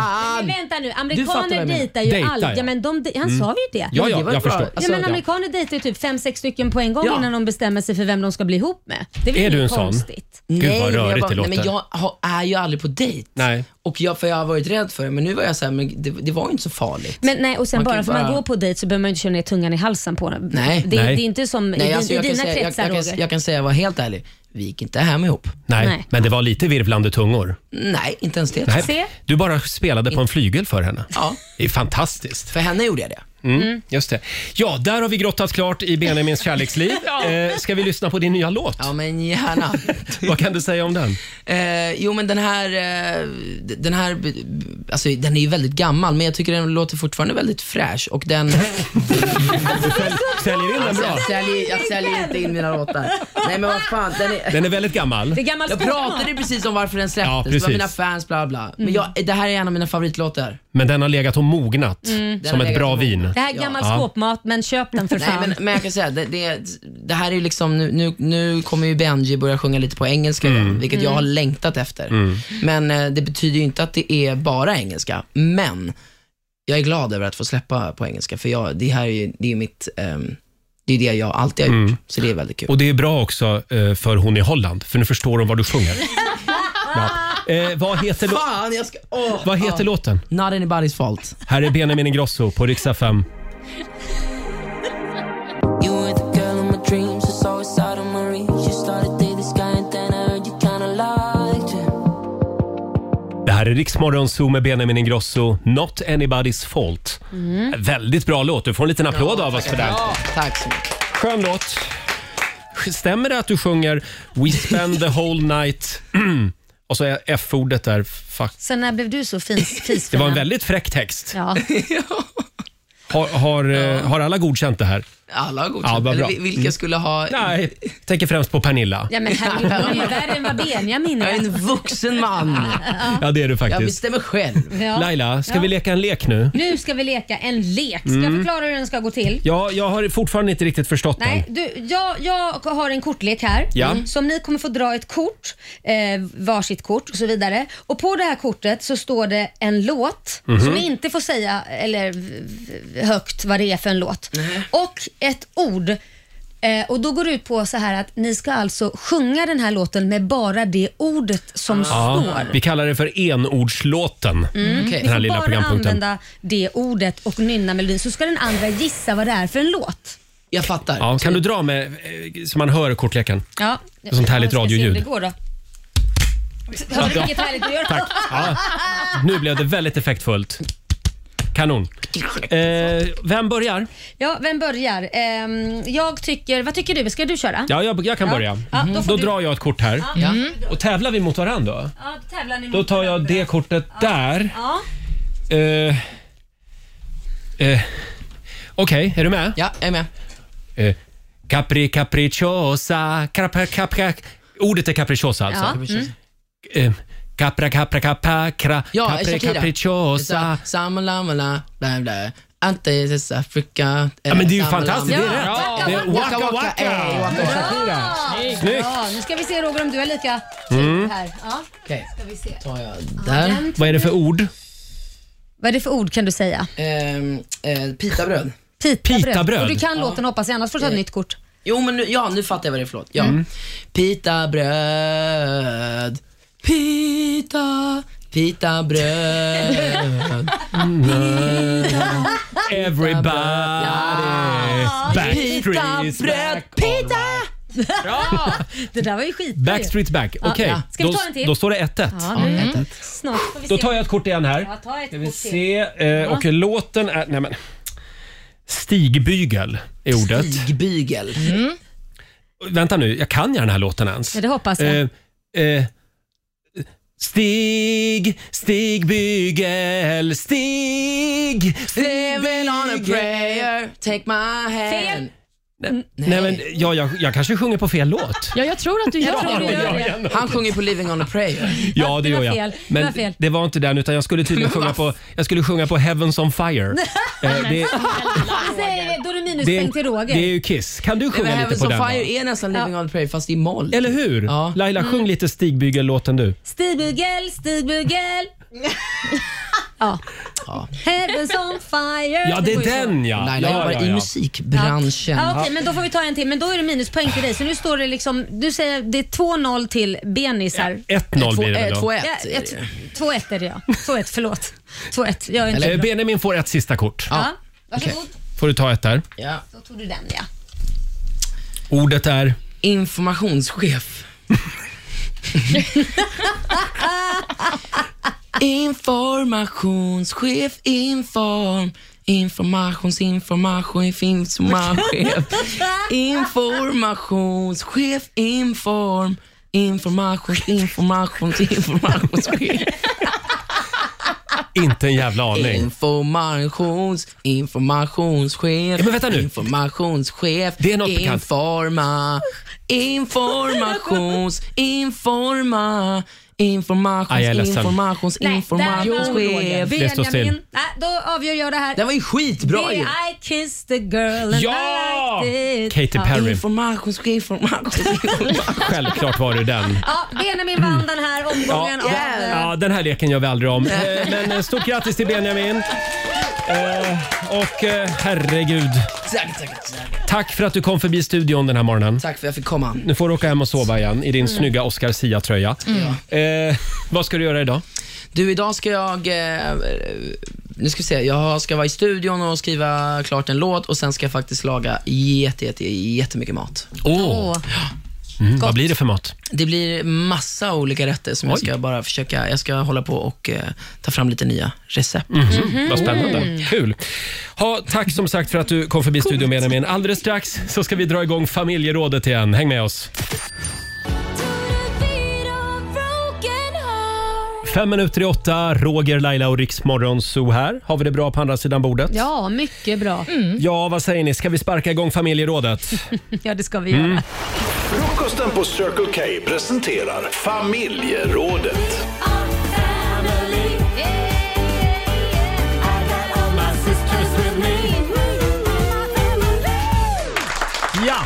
S2: Nej, men vänta nu.
S7: fattar vad
S2: Amerikaner
S7: jag menar.
S2: dejtar ju
S1: Dejtar,
S2: alla.
S1: ja.
S2: Ja, men de, han sa ju det.
S1: Ja,
S7: det
S1: ja,
S7: var
S1: jag
S7: bra.
S1: förstår.
S2: Ja,
S7: Alltså,
S2: men
S7: ja.
S2: amerikaner dejtar ju typ fem, sex stycken på en gång
S7: Ja.
S2: innan de bestämmer sig för vem de ska bli ihop med. Det är väl
S1: Är du
S2: inget
S1: en sån?
S2: konstigt?
S1: Gud, vad
S7: men jag
S1: rörigt
S7: bara-
S1: det
S7: Nej, men
S1: låter.
S7: jag har, är ju aldrig på dejt.
S1: Nej.
S7: Och jag, för jag har varit rädd för det, men nu var jag så här, men det, det var ju inte så farligt.
S2: Men nej, och sen
S7: Man kan
S2: bara för att man
S7: bara-
S2: går på dejt så behöver man ju inte köra ner tungan i halsen på den.
S7: Nej. alltså
S2: Det,
S1: Nej.
S2: det är inte som i, din- i
S7: jag, kan
S2: dina
S7: säga, jag,
S2: kretsar
S7: jag,
S2: Roger.
S7: kan, jag kan säga, jag var helt ärlig, vi gick inte hem ihop.
S1: Nej,
S2: Nej.
S1: men det var lite virvlande tungor.
S7: Nej, inte ens det.
S1: Nej,
S2: Se.
S1: Du bara spelade på en flygel för henne.
S7: Ja,
S1: Det är fantastiskt.
S7: för henne gjorde jag det.
S1: Mm, just det. Ja, där har vi grottat klart i Benjamins kärleksliv. eh, ska vi lyssna på din nya låt?
S7: Ja, men gärna.
S1: Vad kan du säga om den?
S7: Eh, jo men den här, eh, d- den här, b- b- alltså den är ju väldigt gammal men jag tycker den låter fortfarande väldigt fräsch och den,
S1: Säljer in den bra?
S7: jag, säljer, jag säljer inte in mina låtar. Nej men vad fan, den är,
S1: Den är väldigt gammal.
S2: Det är gammal
S7: jag
S2: skåpmat.
S7: pratade precis om varför den släpptes,
S1: Ja,
S7: det var
S1: precis.
S7: mina fans bla bla. Men jag, det här är en av mina favoritlåtar.
S1: Men den har legat och mognat
S2: Mm.
S7: Den
S1: som
S7: har
S1: ett
S7: legat
S1: bra
S7: och
S1: vin.
S2: Det här är gammal
S1: Ja.
S2: skåpmat, men köp den för
S7: Nej,
S2: fan.
S7: men, men jag kan säga, det, det, det här är ju liksom, nu, nu, nu kommer ju Benji börja sjunga lite på engelska
S1: Mm.
S7: igen, vilket jag har längtat efter. Men eh, det betyder ju inte att det är bara engelska, men jag är glad över att få släppa på engelska, för jag, det här är ju det är mitt, ehm, det är det jag alltid har gjort, så det är väldigt kul.
S1: Mm. Och det är bra också eh, för hon i Holland, för nu förstår hon vad du sjunger. ja. eh, vad heter, lå-
S7: Fan, jag ska, åh,
S1: vad heter
S7: ja.
S1: låten?
S7: Not anybody's fault.
S1: Här är Benjamin Ingrosso på riksdag 5.
S6: You were the girl in my dreams, it's always out of my reach. You started dating this guy and then I heard you kinda liked him.
S1: Det här är Riksmorgon Zoo med Benjamin Ingrosso, Not Anybody's Fault. Väldigt bra låt, du får en liten applåd av oss för den.
S7: Mm. Tack så mycket.
S1: Skön låt. Stämmer det att du sjunger We spend the whole night och så är F-ordet där, fuck.
S2: Sen när blev du så fis, fisfin?
S1: Det var en väldigt fräck text.
S2: Ja.
S1: Har, har, eh, har alla godkänt det här?
S7: Alla har
S1: Ja,
S7: godkänt.
S1: vad
S7: Eller
S1: bra. Mm.
S7: vi- vilka skulle ha...
S1: Nej, tänker främst på Pernilla.
S2: ja, men herregud, hon är ju värre än vad Benjamin
S7: Jag är
S2: är.
S7: en vuxen man.
S1: Ja, det är du
S7: Jag
S1: faktiskt.
S7: bestämmer själv.
S2: Ja.
S1: Laila, ska
S2: Ja.
S1: vi leka en lek nu?
S2: Nu ska vi leka en lek. Ska
S7: Mm.
S2: jag förklara hur den ska gå till?
S1: Ja, jag har fortfarande inte riktigt förstått
S2: Nej,
S1: den.
S2: du, jag, jag har en kortlek här.
S1: Ja.
S2: Mm. Så om ni kommer få dra ett kort, eh, varsitt kort och så vidare. Och på det här kortet så står det en låt
S1: Mhm.
S2: som ni inte får säga eller v- v- högt vad det är för en låt. Och ett ord. Eh, och då går det ut på så här att ni ska alltså sjunga den här låten med bara det ordet som
S1: Ja,
S2: står.
S1: vi kallar det för enordslåten.
S2: Mm.
S7: Okej.
S1: Den här lilla
S2: bara
S1: programpunkten.
S2: använda det ordet och nynna melodin så ska den andra gissa vad det är för en låt.
S7: Jag fattar.
S1: Ja, kan du dra med eh, så man hör kortleken?
S2: Ja.
S1: sånt härligt
S2: Jag ska se hur
S1: radioljud.
S2: Det går då. Hör du vilket härligt du gör?
S1: Tack. Ja, nu blev det väldigt effektfullt. Kanon. Eh, vem börjar?
S2: Ja, vem börjar? Ehm, jag tycker, vad tycker du? Ska du köra?
S1: Ja, jag, jag kan
S2: Ja.
S1: börja. Mhm.
S2: Ja, då
S1: då
S2: får du-
S1: drar jag ett kort här.
S7: Ja.
S1: Och tävlar vi mot varandra då?
S2: Ja, då tävlar ni
S1: Då
S2: mot
S1: tar jag
S2: varandra.
S1: det kortet där.
S2: Ja.
S1: Eh, eh, Okej, är du med?
S7: Ja, jag är med.
S1: Eh, Capri capricciosa, capra capra... Ordet är capricciosa alltså. Eh, Capra capra capra cra,
S7: Ja,
S1: capri
S7: Shakira.
S1: capricciosa.
S7: Samlamala, bla bla. Ante is Africa.
S1: Ja, men det är ju
S7: eh,
S1: fantastiskt, det är rätt.
S2: Ja.
S1: Det är waka
S7: Waka
S1: waka.
S7: Waka, ey, Waka Shakira.
S1: Snyggt!
S2: Ja, nu ska vi se Roger om du är lika mm. här. Ja,
S7: Okej,
S2: ska vi se.
S7: tar jag där.
S1: Vad är det för ord?
S2: Vad är det för ord kan du säga?
S7: Ehm, eh, pitabröd.
S2: Pitabröd.
S1: Pitabröd.
S2: Och du kan låten hoppas jag, annars får du ta ett nytt kort.
S7: Jo, men nu, ja, nu fattar jag vad det är för låt. Ja.
S1: Mm.
S7: Pitabröd. Pita. Pitabröd.
S1: Everybody Backstreet's
S7: Pitabröd.
S1: back.
S7: Pita.
S2: Det där var ju skit.
S1: Backstreet back. Okej,
S7: ja.
S2: Ska vi
S1: då,
S2: ta en till?
S1: då står det 1-1.
S2: Ja, nu är det snart får vi
S1: Då
S2: se.
S1: tar jag ett kort igen här.
S2: Ja, ta ett
S1: Ska vi
S2: kort till.
S1: se. Eh, och låten är... Nej, men. Stigbygel är ordet. Mm.
S7: Stigbygel.
S1: Vänta nu, jag kan ju den här låten ens.
S2: Ja, det hoppas jag.
S1: Eh, eh, Stig, stigbygel, stig,
S7: Living on a
S1: stigbygel.
S7: prayer, take my hand.
S1: Nej, men ja, jag, jag kanske sjunger på fel låt.
S3: Ja, jag tror att du gör
S2: tror du
S3: det.
S2: gör det.
S7: Han sjunger på Living on a prayer.
S1: Ja, det
S2: det
S1: gör
S2: var
S1: jag.
S2: fel. Det
S1: Men
S2: var fel.
S1: det var inte den, utan jag skulle tydligen sjunga på, jag skulle sjunga på Heavens on fire. Eh, det,
S2: Då säger vi- Alltså, Då är det
S1: det, är,
S2: minuspoäng till
S1: det
S2: Roger.
S1: är ju Kiss. Kan du
S7: Men
S1: sjunga lite
S7: Heavens
S1: på
S7: on
S1: den? då?
S7: fire är nästan Living on a prayer fast i moll.
S1: Eller hur?
S7: Ja.
S1: Laila, sjung lite Stigbygel-låten du.
S2: Stigbygel, stigbygel. ja.
S7: Ja.
S2: Heaven's on fire.
S1: Ja, det
S2: går
S1: är
S2: ju så.
S1: den ja!
S7: Laila
S1: ja,
S7: jobbar
S1: ja,
S7: i
S1: ja.
S7: musikbranschen.
S2: Ja, okej, men då får vi ta en till. Men då är det minuspoäng till dig. Så nu står det liksom, du säger det är 2-0 till Benis här.
S1: 1-0 blir det väl då.
S7: 2-1
S2: Ja,
S7: är
S2: ett-
S7: det.
S2: 2-1 är det ja. 2-1, förlåt. 2-1, jag är inte
S1: Eh, Benjamin får ett sista kort.
S2: ja. Varsågod.
S1: Får du ta ett där.
S7: Ja.
S2: Då tog du den ja.
S1: Ordet är...
S7: Informationschef. informationschef, inform. Informations, information, informationschef. Informationschef, inform. Informations, informations, informationschef.
S1: Inte en jävla aning.
S7: Informations, informationschef.
S1: Ja, men vänta nu.
S7: Informationschef.
S1: Det är något bekant.
S7: Informa. Informations, informa. Informations,
S1: Aj, jag är ledsen.
S7: informations,
S2: Nej, där
S7: informations...
S2: vann
S7: Roger.
S1: Det står still.
S2: Benjamin. Nej, då avgör jag det här.
S7: Den var ju skitbra
S2: Det är
S7: ju!
S2: I kissed the girl and
S1: Ja!
S2: I liked it.
S1: Katy Perry.
S7: Informations, informations, informations.
S1: Självklart var det den.
S2: Ja, Benjamin vann den här omgången
S1: Ja.
S2: av... eh,
S1: Ja, den här leken gör vi aldrig om. Eh, Men eh, stort grattis till Benjamin. Eh, Och eh, herregud,
S7: Tack, tack, tack.
S1: tack för att du kom förbi studion den här morgonen.
S7: Tack för att jag fick komma.
S1: Nu får du åka hem och sova igen i din snygga Oscar Sia-tröja. Eh, vad ska du göra idag?
S7: Du, idag ska jag... Eh, nu ska vi se. Jag ska vara i studion och skriva klart en låt och sen ska jag faktiskt laga jätte, jätte, jättemycket mat.
S1: Åh, mm, vad blir det för mat?
S7: Det blir massa olika rätter som jag ska bara försöka... Jag ska hålla på och eh, ta fram lite nya recept.
S1: Mm. Vad spännande. Kul. Ha, tack som sagt för att du kom förbi studion Benjamin. Alldeles strax så ska vi dra igång familjerådet igen. Häng med oss. Fem minuter i åtta, Roger, Laila och Riksmorgon Zoo här. Har vi det bra på andra sidan bordet? Mm.
S2: Ja, mycket bra.
S1: Ja, vad säger ni? Ska vi sparka igång familjerådet?
S2: Ja, det ska vi
S1: Mm.
S2: göra.
S4: Frukosten på Circle K presenterar familjerådet.
S1: ja!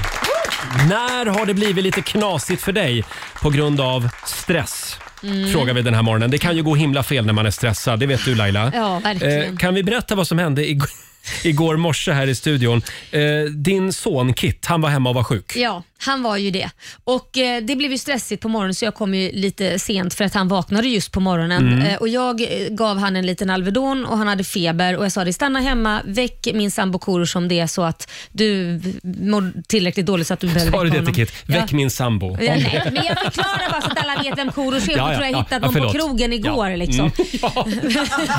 S1: När har det blivit lite knasigt för dig på grund av stress?
S2: Mm.
S1: Frågar vi den här morgonen. Det kan ju gå himla fel när man är stressad, det vet du Laila.
S2: Ja, verkligen.
S1: Eh, kan vi berätta vad som hände igår, igår morse här i studion? Eh, din son Kit, han var hemma och var sjuk.
S2: Ja, han var ju det. Och eh, Det blev ju stressigt på morgonen så jag kom ju lite sent för att han vaknade just på morgonen.
S1: Mm.
S2: Eh, och Jag eh, gav han en liten Alvedon och han hade feber och jag sa det, stanna hemma, väck min sambo Korosh om det är så att du mår tillräckligt dåligt så att du behöver
S1: Sa du
S2: väcka
S1: det till
S2: honom.
S1: Kit? Väck
S2: ja.
S1: min sambo.
S2: Ja, nej, men jag förklarar bara så att alla vet vem Korosh är.
S1: Ja,
S2: Ja,
S1: ja,
S2: tror jag
S1: ja,
S2: hittat
S1: ja,
S2: någon på
S1: förlåt.
S2: krogen
S1: Ja.
S2: igår.
S1: Mm.
S2: Liksom.
S1: Ja.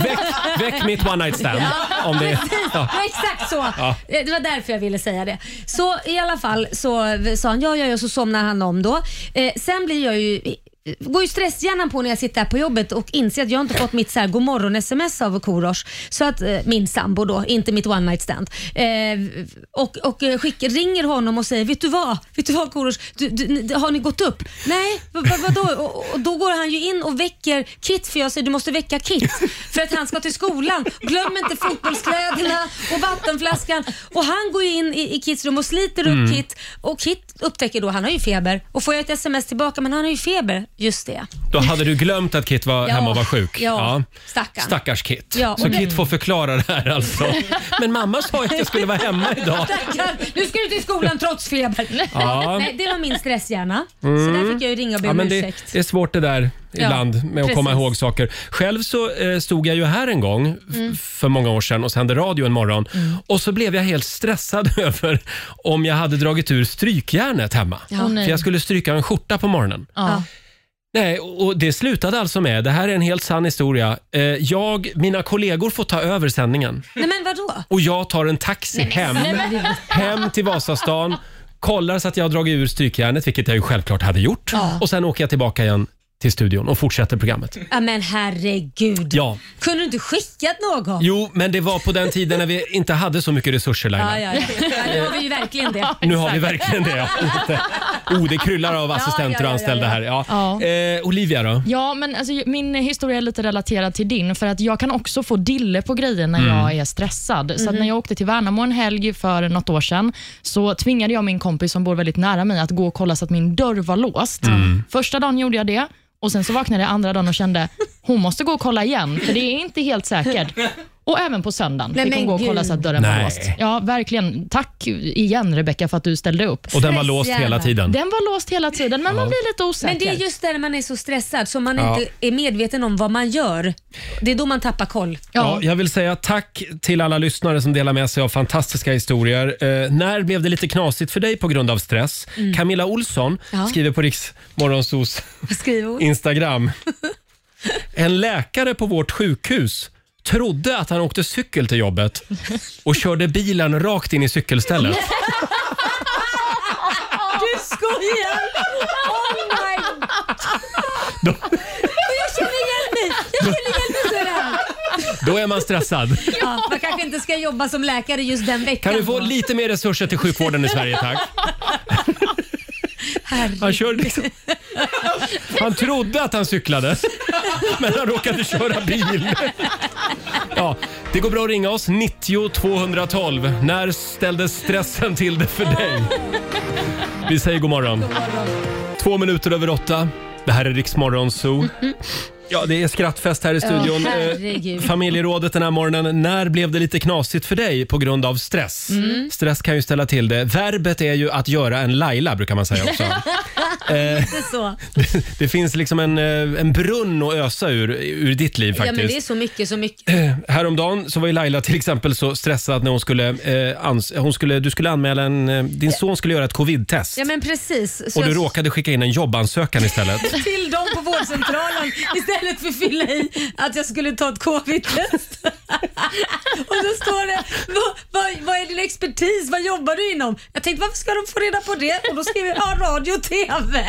S1: Väck, väck mitt one night stand. Om det, ja.
S2: Det var exakt så. Eh, Det var därför jag ville säga det. Så i alla fall så v- sa han ja, ja, ja, så somnar han om då. Eh, sen blir jag ju eh, går ju stresshjärnan på när jag sitter här på jobbet och inser att jag inte fått mitt så här god morgon sms av Korosh. Så att eh, min sambo då, inte mitt one night stand. Eh, och och eh, skick, ringer honom och säger, vet du vad, vet du vad Korosh, du, du, ni- har ni gått upp? Nej, vad, vad, vadå? Och, och då går han ju in och väcker Kit för jag säger du måste väcka Kit för att han ska till skolan. Glöm inte fotbollskläderna och vattenflaskan. Och han går ju in i, i Kits rum och sliter upp
S1: Mm.
S2: Kit och Kit upptäcker då, han har ju feber och får jag ett sms tillbaka, men han har ju feber. Just det.
S1: Då hade du glömt att Kit var
S2: Ja.
S1: hemma och var sjuk.
S2: Ja, stackarn.
S1: Stackars Kit.
S2: Ja, och
S1: Så
S2: det-
S1: Kit får förklara det här alltså. Men mamma sa ju att jag skulle vara hemma idag.
S2: Tackar. Nu ska du till skolan trots feber.
S1: Ja. Mm.
S2: Nej, det var min stresshjärna. Så där fick jag ju ringa och be
S1: Ja,
S2: om
S1: men det,
S2: ursäkt.
S1: det är svårt det där ibland med att
S2: precis.
S1: komma ihåg saker. Själv så eh, stod jag ju här en gång f-
S2: Mm.
S1: för många år sedan och sände radio en morgon och så blev jag helt stressad över om jag hade dragit ur strykjärnet hemma.
S3: Åh, nej.
S1: För jag skulle stryka en skjorta på morgonen.
S3: Ja.
S1: Nej, och och det slutade alltså med, det här är en helt sann historia, eh, jag, mina kollegor får ta över sändningen
S2: Nej men vadå?
S1: och jag tar en taxi hem, hem till Vasastan, kollar så att jag har dragit ur strykjärnet, vilket jag ju självklart hade gjort. Och sen åker jag tillbaka igen till studion och fortsätter programmet.
S2: Ja men herregud.
S1: Ja,
S2: Kunde du inte skickat någon?
S1: jo, men det var på den tiden när vi inte hade så mycket resurser Laila.
S2: Ja, ja, ja. ja, nu har vi ju verkligen det.
S1: Nu har vi verkligen det. Ja. Oh, det kryllar av assistenter och
S2: ja, ja,
S1: anställda
S2: ja.
S1: här. Ja.
S3: Ja.
S1: Eh, Olivia då?
S3: Ja, men alltså, min historia är lite relaterad till din, för att jag kan också få dille på grejer när jag är stressad.
S2: Mhm.
S3: Så att när jag åkte till Värnamo en helg för något år sedan, så tvingade jag min kompis som bor väldigt nära mig att gå och kolla så att min dörr var låst. Första dagen gjorde jag det, och sen så vaknade jag andra dagen och kände, hon måste gå och kolla igen, för det är inte helt säkert. Och även på söndagen
S2: Nej,
S3: fick hon
S2: men
S3: gå och
S2: gud.
S3: kolla så att dörren
S1: Nej.
S3: var låst. Ja, verkligen. Tack igen Rebecka för att du ställde upp.
S1: Och den var låst hela tiden.
S3: Den var låst hela tiden, men man blir lite osäker.
S2: Men det är just där man är så stressad så man inte är medveten om vad man gör. Det är då man tappar koll.
S1: Ja, jag vill säga tack till alla lyssnare som delar med sig av fantastiska historier. Eh, när blev det lite knasigt för dig på grund av stress? Camilla Olsson
S2: Ja.
S1: skriver på Riksmorgonsos
S2: Skriv ord.
S1: Instagram. En läkare på vårt sjukhus trodde att han åkte cykel till jobbet och körde bilen rakt in i cykelstället.
S2: Du skojar! Oh my
S1: Då,
S2: Jag känner igen mig! Jag känner igen mig så här.
S1: då är man stressad.
S2: Ja, man kanske inte ska jobba som läkare just den veckan.
S1: Kan du få
S2: då.
S1: lite mer resurser till sjukvården i Sverige, tack? Han körde liksom... Han trodde att han cyklade, men han råkade köra bil. Ja, det går bra att ringa oss, 90 212. När ställde stressen till det för dig? Vi säger god morgon. Mm-hmm. Två minuter över åtta. Det här är Riksmorgon Zoo. Ja, det är skrattfest här i studion.
S2: Ja,
S1: Eh,
S2: herregud.
S1: Familjerådet den här morgonen. När blev det lite knasigt för dig på grund av stress?
S2: Mm.
S1: Stress kan ju ställa till det. Verbet är ju att göra en Laila, brukar man säga också.
S2: Det är så.
S1: Det finns liksom en, eh, en brunn att ösa ur, ur ditt liv
S2: Ja, men
S1: faktiskt.
S2: det är så mycket, så mycket.
S1: Häromdagen så var ju Laila till exempel så stressad när hon skulle, eh, ans- hon skulle, du skulle anmäla en, eh, din son skulle göra ett covid-test.
S2: Ja, men precis. Så
S1: och du
S2: jag-
S1: råkade skicka in en jobbansökan istället.
S2: till dem på vårdcentralen istället för att fylla i att jag skulle ta ett covid-test. och då står det, vad, vad, vad är din expertis? Vad jobbar du inom? Jag tänkte, varför ska de få reda på det? Och då skrev jag, ja, radio och TV.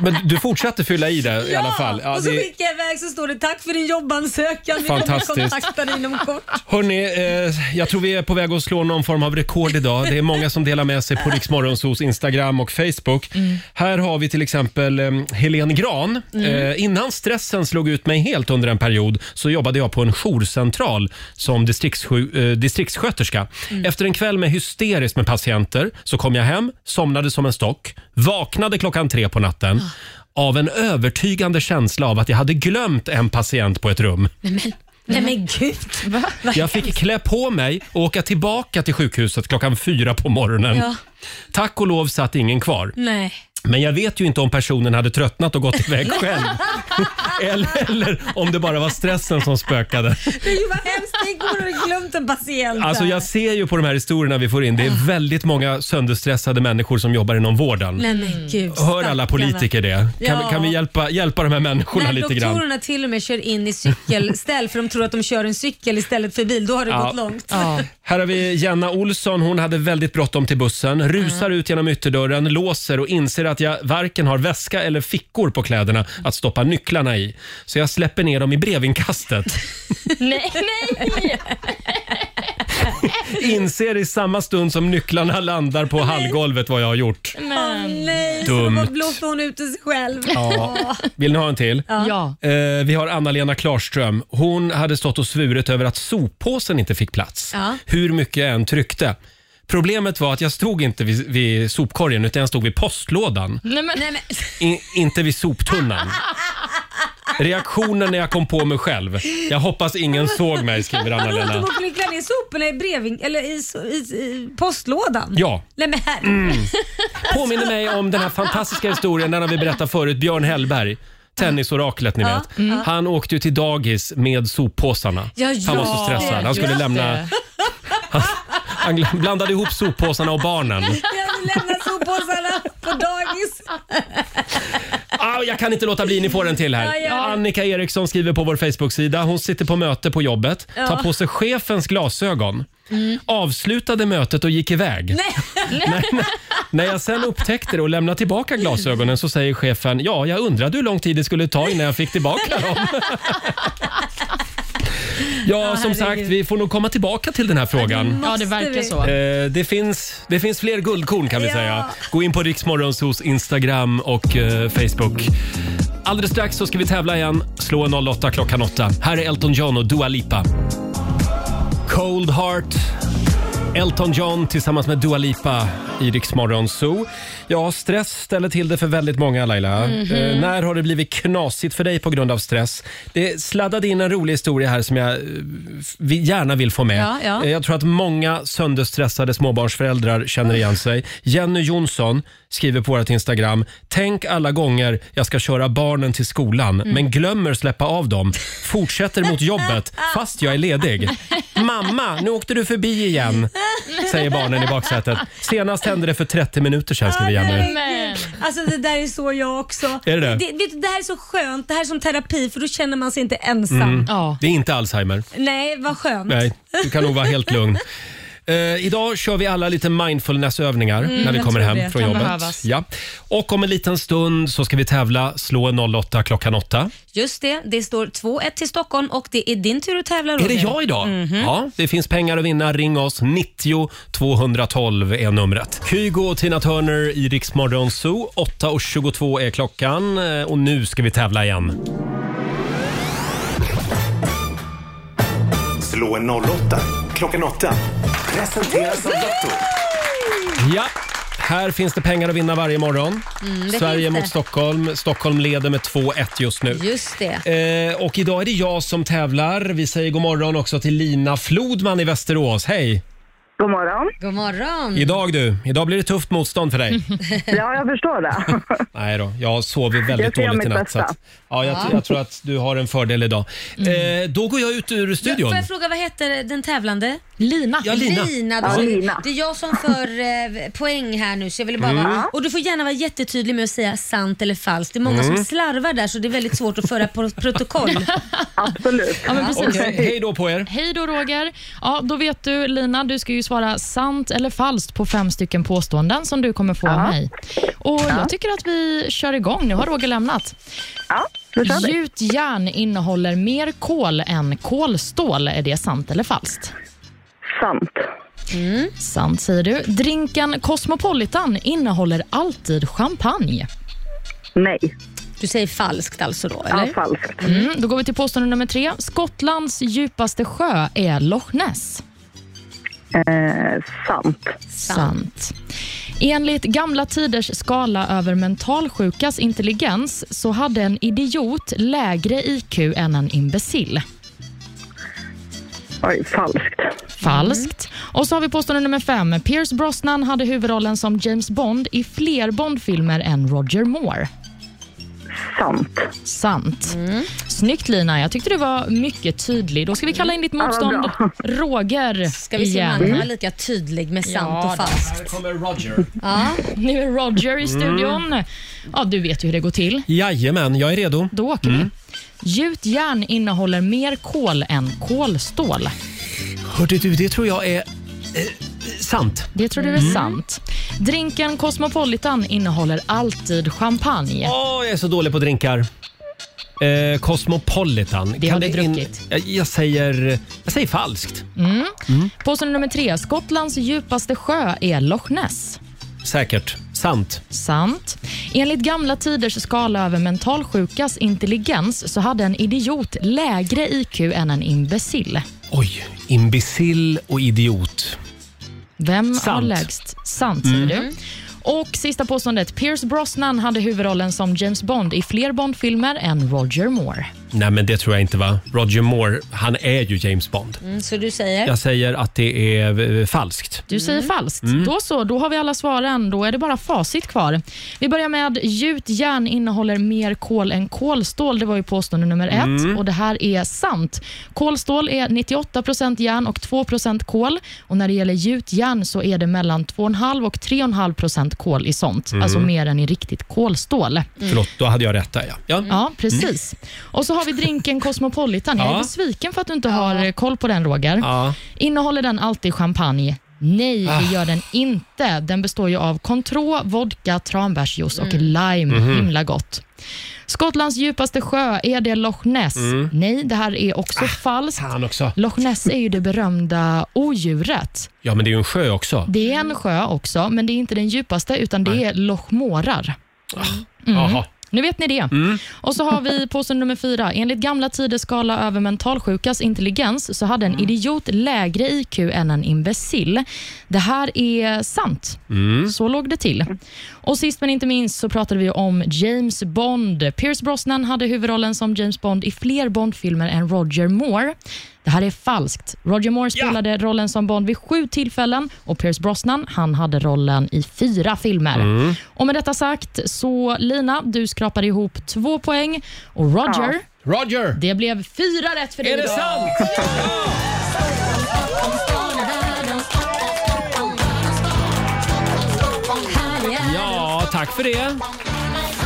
S1: Men du fortsatte fylla i det i alla fall.
S2: och så
S1: det-
S2: skickade jag iväg så står det, tack för din jobbansökan. Vi kommer
S1: Fantastiskt.
S2: kontakta dig inom kort.
S1: Hörni, eh, jag tror vi är på väg att slå någon form av rekord idag. Det är många som delar med sig på Riksmorgonsos Instagram och Facebook. Här har vi till exempel eh, Helene Gran. Eh, innan stressen slog ut mig helt under en period så jobbade jag på en jourcentral som distriktssju- eh, distriktssköterska. Efter en kväll med hysteriskt med patienter så kom jag hem, somnade som en stock, vaknade klockan tre på natten av en övertygande känsla av att jag hade glömt en patient på ett rum.
S2: Nej men gud.
S1: Jag fick klä på mig och åka tillbaka till sjukhuset klockan fyra på morgonen.
S2: Ja.
S1: Tack och lov satt ingen kvar.
S2: Nej.
S1: Men jag vet ju inte om personen hade tröttnat och gått iväg själv. eller, eller om det bara var stressen som spökade.
S2: Det är ju vad hemskt, tänk om du har glömt en patient.
S1: Alltså jag ser ju på de här historierna vi får in, det är väldigt många sönderstressade människor som jobbar inom vården.
S2: Nej men gud.
S1: Hör alla
S2: stackarna.
S1: politiker det? Kan,
S2: Ja.
S1: kan vi hjälpa, hjälpa de här människorna
S2: När
S1: lite grann?
S2: doktorerna till och med kör in i cykelställ för de tror att de kör en cykel istället för bil, då har det
S1: Ja.
S2: gått långt.
S1: Här har vi Jenna Olsson. Hon hade väldigt bråttom till bussen, rusar
S3: Mm.
S1: ut genom ytterdörren, låser och inser att jag varken har väska eller fickor på kläderna att stoppa nycklarna i. Så jag släpper ner dem i brevinkastet.
S3: Nej, nej!
S1: Inser i samma stund som nycklarna landar på hallgolvet vad jag har gjort.
S2: Åh nej,
S1: Dumt.
S2: så då blåste hon ut sig själv.
S1: Ja. Vill ni ha en till?
S3: Ja.
S1: Eh, vi har Anna-Lena Klarström. Hon hade stått och svurit över att soppåsen inte fick plats.
S2: Ja.
S1: Hur mycket jag än tryckte. Problemet var att jag stod inte vid, vid sopkorgen utan jag stod vid postlådan.
S3: Nej, men,
S2: Nej, men,
S1: I, inte vid soptunnan. Reaktionen när jag kom på mig själv. Jag hoppas ingen såg mig, skriver
S2: låt dem
S1: Anna-Lena.
S2: och knyckla ner soporna i, brevin, eller i, so- i, i postlådan.
S1: Ja.
S2: Nej men herre.
S1: Påminner mig om den här fantastiska historien den har vi berättat förut, Björn Hellberg. Tennisoraklet ni vet. Han åkte ju till dagis med soppåsarna.
S2: Mm. Ja,
S1: Han var så
S2: ja.
S1: stressad. Han skulle
S3: Just
S1: lämna...
S3: det.
S1: Han gl- blandade ihop soppåsarna och barnen.
S2: Jag vill lämna soppåsarna på dagis.
S1: Ah, jag kan inte låta bli, ni får en till här.
S2: Ja, gör det.
S1: Annika Eriksson skriver på vår Facebook-sida. Hon sitter på möte på jobbet, tar på sig chefens glasögon,
S2: Mm.
S1: avslutade mötet och gick iväg. när, när- när jag sen upptäckte det och lämnade tillbaka glasögonen så säger chefen, ja, jag undrade hur lång tid det skulle ta innan jag fick tillbaka dem. Ja, som sagt,
S2: herregud.
S1: vi får nog komma tillbaka till den här frågan.
S3: ja, det
S2: Måste
S3: verkar
S2: vi?
S3: så.
S1: Eh, det, finns, det finns fler guldkorn kan vi
S2: Ja.
S1: säga. Gå in på Riksmorgonsos Instagram och eh, Facebook. Alldeles strax så ska vi tävla igen. Slå en 08 klockan 8. Här är Elton John och Dua Lipa. Cold Heart. Elton John tillsammans med Dua Lipa i Riksmorgon Zoo. Ja, stress ställer till det för väldigt många Laila.
S2: Mhm.
S1: Eh, när har det blivit knasigt för dig på grund av stress? Det sladdade in en rolig historia här som jag eh, f- vi- gärna vill få med.
S2: Ja, ja.
S1: Eh, Jag tror att många sönderstressade småbarnsföräldrar
S2: Mm.
S1: känner igen sig. Jenny Jonsson skriver på vårt Instagram. Tänk alla gånger jag ska köra barnen till skolan
S2: Mm.
S1: men glömmer släppa av dem. Fortsätter mot jobbet fast jag är ledig. Mamma, nu åkte du förbi igen, säger barnen i baksätet. Senast hände det för 30 minuter sedan, skriver Jenny.
S2: Herregud. Alltså det där är så jag också.
S1: Är det det?
S2: vet du, det här är så skönt, det här är som terapi för då känner man sig inte ensam.
S1: Mm.
S3: Ja.
S1: Det är inte Alzheimer.
S2: Nej, vad skönt.
S1: Nej, du kan nog vara helt lugn. Eh, idag kör vi alla lite mindfulnessövningar när vi
S2: Mm, jag
S1: kommer
S2: tror
S1: hem
S2: det.
S1: från
S3: Kan
S1: jobbet.
S3: behövas.
S1: Ja. Och om en liten stund så ska vi tävla Slå en 08 klockan 8.
S2: Just det, det står 2-1 till Stockholm och det är din tur att tävla Roger.
S1: Är det jag idag?
S2: Mhm.
S1: Ja, det finns pengar att vinna. Ring oss. 90 212 är numret. Kygo och Tina Turner i Rix Morgon Zoo. 8.22 är klockan eh, och nu ska vi tävla igen.
S4: Slå en 08 klockan 8. Presenteras av Lotto.
S1: Ja, här finns det pengar att vinna varje morgon.
S2: Mm, det
S1: Sverige
S2: finns det.
S1: mot Stockholm. Stockholm leder med 2-1 just nu.
S2: Just det.
S1: Eh, och idag är det jag som tävlar. Vi säger god morgon också till Lina Flodman i Västerås. Hej!
S9: God morgon.
S2: God morgon.
S1: Idag du, idag blir det tufft motstånd för dig.
S9: Ja, jag förstår det.
S1: Nej då, jag sover
S9: Jag
S1: väldigt
S9: ska göra
S1: dåligt i
S9: mitt
S1: natt. Så
S9: bästa.
S1: att, ja, jag, jag tror att du har en fördel idag. Eh, då går jag ut ur studion.
S2: Får jag fråga, vad heter den tävlande?
S3: Lina.
S1: Ja, Lina.
S2: då.
S9: Ja, Lina.
S2: Det är jag som för eh, poäng här nu så jag vill bara vara, Och du får gärna vara jättetydlig med att säga sant eller falskt. Det är många som slarvar där så det är väldigt svårt att föra pro- protokoll.
S9: Absolut.
S3: Ja, men precis.
S1: Okej, hej då på er.
S3: Hej då Roger. Ja, då vet du Lina, du ska ju svara sant eller falskt på fem stycken påståenden som du kommer få av mig. Och jag tycker att vi kör igång. Nu har Roger lämnat.
S9: Ja, då kör vi.
S3: Gjutjärn innehåller mer kol än kolstål. Är det sant eller falskt?
S9: Sant.
S3: Sant säger du. Drinken Cosmopolitan innehåller alltid champagne.
S9: Nej.
S2: Du säger falskt alltså då,
S9: Ja,
S2: eller?
S9: falskt.
S3: Mm, då går vi till påstående nummer tre. Skottlands djupaste sjö är Loch Ness.
S9: Eh, sant.
S3: Sant. Enligt gamla tiders skala över mentalsjukas intelligens så hade en idiot lägre IQ än en imbecill.
S9: Oj, falskt.
S3: Falskt. Och så har vi påstående nummer fem. Pierce Brosnan hade huvudrollen som James Bond i fler Bondfilmer än Roger Moore.
S9: Sant.
S3: Sant.
S2: Mm.
S3: Snyggt Lina, jag tyckte du var mycket tydlig. Då ska vi kalla in ditt motstånd
S9: bra.
S3: Roger
S2: Ska vi se om
S3: igen.
S2: han är lika tydlig med sant
S3: Ja,
S2: och falskt?
S1: Här kommer Roger.
S3: Nu är Roger
S2: Mm.
S3: i studion. Ja, du vet ju hur det går till.
S1: Jajamän, jag är redo.
S3: Då åker
S2: Mm.
S3: vi. Gjutjärn innehåller mer kol än kolstål.
S1: Hörde du, det tror jag är eh, sant.
S3: Det tror
S2: Mm.
S3: du är sant. Drinken Cosmopolitan innehåller alltid champagne.
S1: Åh, jag är så dålig på drinkar. Eh, Cosmopolitan.
S3: Det har du
S1: in-
S3: druckit.
S1: Jag, jag, säger, jag säger falskt.
S3: Påstående nummer tre. Skottlands djupaste sjö är Loch Ness.
S1: Säkert. Sant.
S3: Sant. Enligt gamla tiders skala över mentalsjukas intelligens så hade en idiot lägre IQ än en imbecill.
S1: Oj, imbecill och idiot.
S3: Vem har
S1: Sant.
S3: lägst? Sant, säger du. Och sista påståendet. Pierce Brosnan hade huvudrollen som James Bond i fler Bond-filmer än Roger Moore.
S1: Nej, men det tror jag inte va? Roger Moore, han är ju James Bond.
S2: Mm, så du säger?
S1: Jag säger att det är eh, falskt.
S3: Du säger
S1: Mm.
S3: falskt. Då så, då har vi alla svaren. Då är det bara facit kvar. Vi börjar med gjutjärn innehåller mer kol än kolstål. Det var ju påstående nummer ett
S1: Mm.
S3: och det här är sant. Kolstål är 98 järn och 2 kol och när det gäller gjutjärn så är det mellan 2,5 och 3,5 kol i sånt.
S1: Mm.
S3: Alltså mer än i riktigt kolstål.
S1: Förlåt, då hade jag rätt där ja. ja.
S3: Ja, precis. Och så har vi drinken Cosmopolitan. Jag
S1: Mm. Ja.
S3: är besviken för att du inte har eh, koll på den, Roger.
S1: Ja.
S3: Innehåller den alltid champagne? Nej, det gör den inte. Den består ju av Cointreau, vodka, tranbärsjuice och lime. Himla gott. Skottlands djupaste sjö, är det Loch Ness? Nej, det här är också falskt.
S1: Fan också.
S3: Loch Ness är ju det berömda odjuret.
S1: Ja, men det är ju en sjö också.
S3: Det är en sjö också, men det är inte den djupaste, utan det är Loch Mårar.
S1: Jaha.
S3: Nu vet ni det. Och så har vi påstående nummer fyra. Enligt gamla tiders skala över mentalsjukas intelligens så hade en idiot lägre IQ än en imbecill. Det här är sant. Så låg det till. Och sist men inte minst så pratade vi om James Bond. Pierce Brosnan hade huvudrollen som James Bond i fler Bond-filmer än Roger Moore. Det här är falskt. Roger Moore spelade rollen som Bond vid sju tillfällen och Pierce Brosnan han hade rollen i fyra filmer. Och Med detta sagt, så Lina, du skrapade ihop två poäng och Roger,
S1: Roger!
S3: det blev fyra rätt för dig
S1: Är det
S3: idag.
S1: sant? Ja, tack för det. Eh,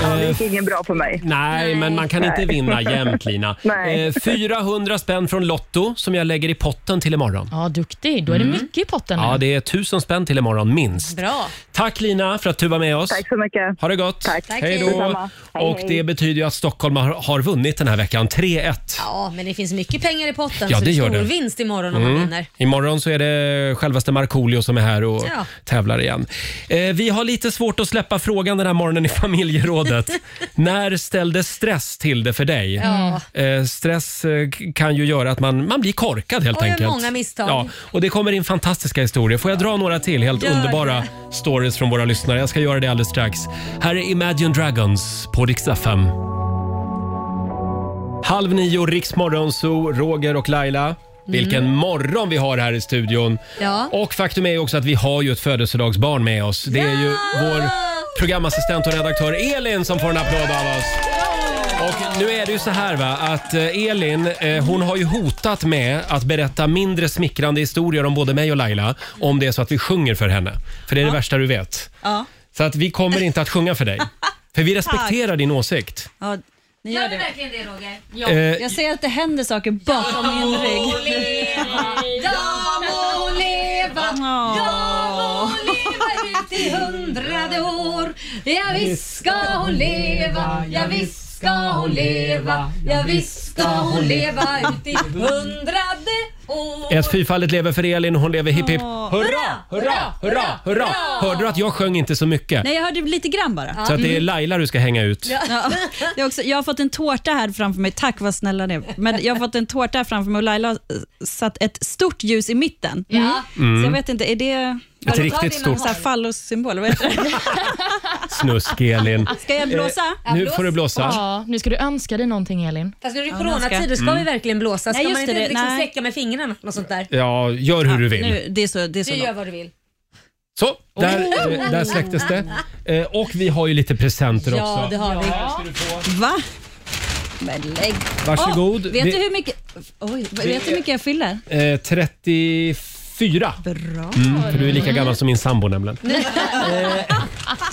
S9: Ja, det gick ingen bra för mig.
S1: Nej, men man kan inte
S9: Nej.
S1: vinna jämt Lina.
S9: Nej.
S1: Eh, 400 spänn från Lotto som jag lägger i potten till imorgon.
S3: Ja, duktig. Då är det mycket i potten nu.
S1: Mm. Ja, det är 1000 spänn till imorgon minst.
S2: Bra.
S1: Tack Lina för att du var med oss.
S9: Tack så mycket.
S1: Ha det gott.
S9: Tack. Tack,
S1: Hej då.
S9: detsamma. Hej,
S1: Och
S9: hej.
S1: det betyder ju att Stockholm har, har vunnit den här veckan. 3-1.
S2: Ja, men det finns mycket pengar i potten
S1: Ja,
S2: så
S1: det
S2: det är
S1: gör
S2: stor
S1: det.
S2: vinst imorgon om man vinner.
S1: Imorgon så är det självaste Markoolio som är här och
S2: Ja.
S1: tävlar igen. Eh, vi har lite svårt att släppa frågan den här morgonen i familjerådet. När ställde stress till det för dig? Eh, stress eh, k- kan ju göra att man, man blir korkad helt
S2: Och gör
S1: enkelt.
S2: många misstag.
S1: Ja, och det kommer in fantastiska historier. Får jag dra några till helt
S2: Gör
S1: underbara stories från våra lyssnare? Jag ska göra det alldeles strax. Här är Imagine Dragons på Rix FM. Halv nio, Riksmorgon, så Roger och Laila. Vilken
S5: Mm.
S1: morgon vi har här i studion.
S2: Ja.
S1: Och faktum är ju också att vi har ju ett födelsedagsbarn med oss. Det är ju vår programassistent och redaktör Elin som får en applåd av oss. Och nu är det ju så här va, att eh, Elin, eh, hon har ju hotat med att berätta mindre smickrande historier om både mig och Laila om det är så att vi sjunger för henne. För det är det värsta du vet.
S5: Ja.
S1: Så att vi kommer inte att sjunga för dig. För vi respekterar din åsikt.
S5: Ja, ni gör det.
S2: verkligen det Roger?
S1: Eh,
S5: Jag ser att det händer saker bakom min rygg.
S2: Jag må leva, jag må leva ut i hundrade år. Ja visst ska hon leva, ja visst ska hon leva, ja visst ska hon leva ut i hundrade år.
S1: Ett fyrfaldigt lever för Elin, hon lever hipp hipp. Hurra, hurra,
S2: Hurra,
S1: hurra, hurra! Hörde du att jag sjöng inte så mycket?
S5: Nej, jag hörde lite grann bara.
S1: Så att det är Laila du ska hänga ut.
S5: Ja. Det är också, jag har fått en tårta här framför mig. Tack vad snälla ni är. Men jag har fått en tårta här framför mig och Laila har eh, satt ett stort ljus i mitten. Mm.
S2: Ja.
S1: Mm.
S5: Så jag vet inte, är det...
S1: Ett
S5: Var-
S1: riktigt
S5: Så
S1: stort
S5: här fallossymbol, vad heter det?
S1: snusk, Elin.
S5: Ska jag blåsa?
S1: Nu får du blåsa.
S3: Ja, nu ska du önska dig någonting Elin.
S2: Fast nu är det
S5: man ska-
S2: coronatider, ska vi verkligen blåsa? Ska
S5: Nej,
S2: man
S5: just
S2: inte
S5: det,
S2: liksom
S5: nej.
S2: släcka med fingrarna? Något sånt där.
S1: Ja, gör hur du vill.
S5: Nu, det är så, det är så
S2: Du gör
S5: långt.
S2: vad du vill.
S1: Så, där, eh, där släcktes det. Eh, Och vi har ju lite presenter
S2: Ja, det
S1: också.
S2: har vi.
S5: Va? Men lägg
S1: Varsågod.
S5: Åh, vet
S1: Det-
S5: du hur mycket... Oj, vet du hur mycket jag fyller?
S1: Eh, 34.
S5: Bra.
S1: Mm, för du är lika gammal som min sambo nämligen. Eh,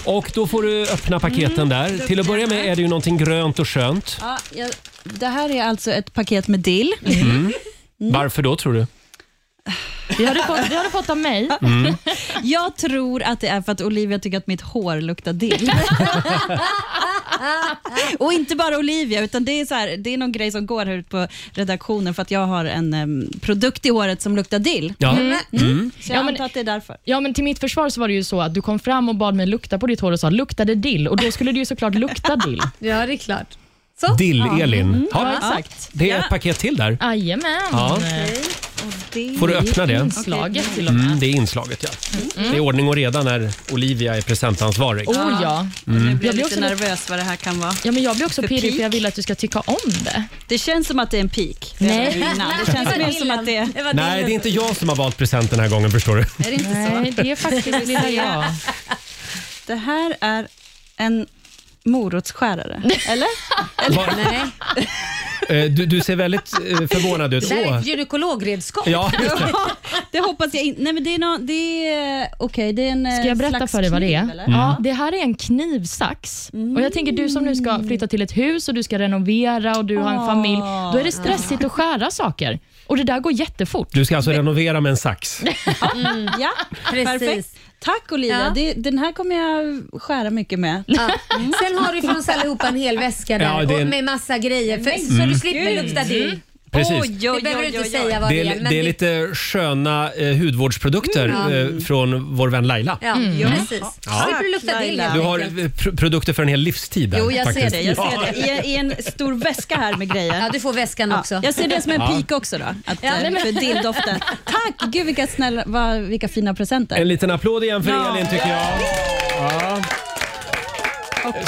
S1: Och då får du öppna paketen där. Till att börja med är det ju någonting grönt och skönt.
S5: Ja, jag, det här är alltså ett paket med dill.
S1: Varför då tror du?
S3: Det har du fått, det har du fått av mig.
S5: Jag tror att det är för att Olivia tycker att mitt hår luktar dill. och inte bara Olivia, utan det är, så här, det är någon grej som går här ute på redaktionen för att jag har en em, produkt i håret som luktar dill.
S1: Ja.
S5: Så jag
S3: Ja, men-
S5: antar att det är därför.
S3: Ja, men till mitt försvar så var det ju så att du kom fram och bad mig lukta på ditt hår och sa luktade dill och då skulle det ju såklart lukta dill.
S2: Ja, det är klart. Mm.
S1: Dill-Elin.
S3: Ja,
S1: Ja,
S3: exakt.
S1: det är ett paket till där.
S3: Jajamän. Eh,
S1: Ja.
S5: Dill.
S1: Får du öppna det?
S3: Inslaget till och med.
S1: Mm, det är inslaget ja.
S2: Mm.
S1: Det är ordning och reda när Olivia är presentansvarig.
S3: Oh, ja.
S5: Nu blir
S3: Jag
S5: jag
S3: blir
S5: lite
S3: också-
S5: nervös vad det här kan vara.
S3: Ja, men jag blir också
S5: För
S3: pirrig
S5: pik?
S3: för jag vill att du ska tycka om det.
S5: Det känns som att det är en pik.
S3: Nej.
S5: Innan. Det känns mer som att det är...
S2: var
S1: Nej,
S2: din-
S1: det är inte jag som har valt present den här gången förstår du.
S5: Är det inte
S3: Nej, det är faktiskt lilla jag.
S5: Det här är en morotsskärare, eller?
S1: Var-
S2: Nej,
S1: Eh, du, du ser väldigt eh, förvånad ut.
S2: det här är
S1: Åh.
S2: ett gynekologredskap.
S1: Ja, just det.
S5: det hoppas jag inte. Nej men det är nå, det är, okej, det är en eh,
S3: Ska jag berätta
S5: slags
S3: för dig vad det är? Mm.
S5: kniv, eller?
S1: Mm.
S3: Ja, det här är en knivsax. Och jag tänker du som nu ska flytta till ett hus och du ska renovera och du har en familj. Då är det stressigt att skära saker. Och det där går jättefort.
S1: Du ska alltså renovera med en sax.
S5: Ja,
S2: Precis.
S5: perfekt. Tack Olivia,
S2: Ja.
S5: det, den här kommer jag skära mycket med. Mm.
S2: Sen har du från Sally ihop en hel väska där
S1: Ja, det är en- Mm.
S2: och med massa grejer för, så du slipper
S5: Mm.
S2: lukta dill.
S1: Precis.
S5: Oj,
S2: Det
S5: oj,
S2: behöver du
S5: oj,
S2: inte
S5: oj,
S2: säga
S5: oj.
S2: vad
S1: Det
S2: det är.
S1: är,
S2: men
S1: det är lite sköna eh, hudvårdsprodukter eh, från vår vän Laila.
S2: Ja,
S5: Mm.
S2: precis.
S1: Ja.
S2: Slipper du lukta dill
S5: Laila.
S2: helt
S1: Du har eh,
S2: enkelt.
S1: pr- produkter för en hel livstid där,
S2: Jo, jag ser
S1: faktiskt.
S2: det,
S5: Jag
S1: Ja.
S5: ser det. I, en- I en stor väska här med grejer.
S2: Ja, du får väskan
S5: Ja,
S2: också.
S5: Jag ser det som en pik också då, att, eh, för dilldoften. Tack! Gud vilka, snälla, vad, vilka fina
S1: En
S5: presenter.
S1: liten applåd igen för
S5: Ja.
S1: Elin tycker jag. Ja.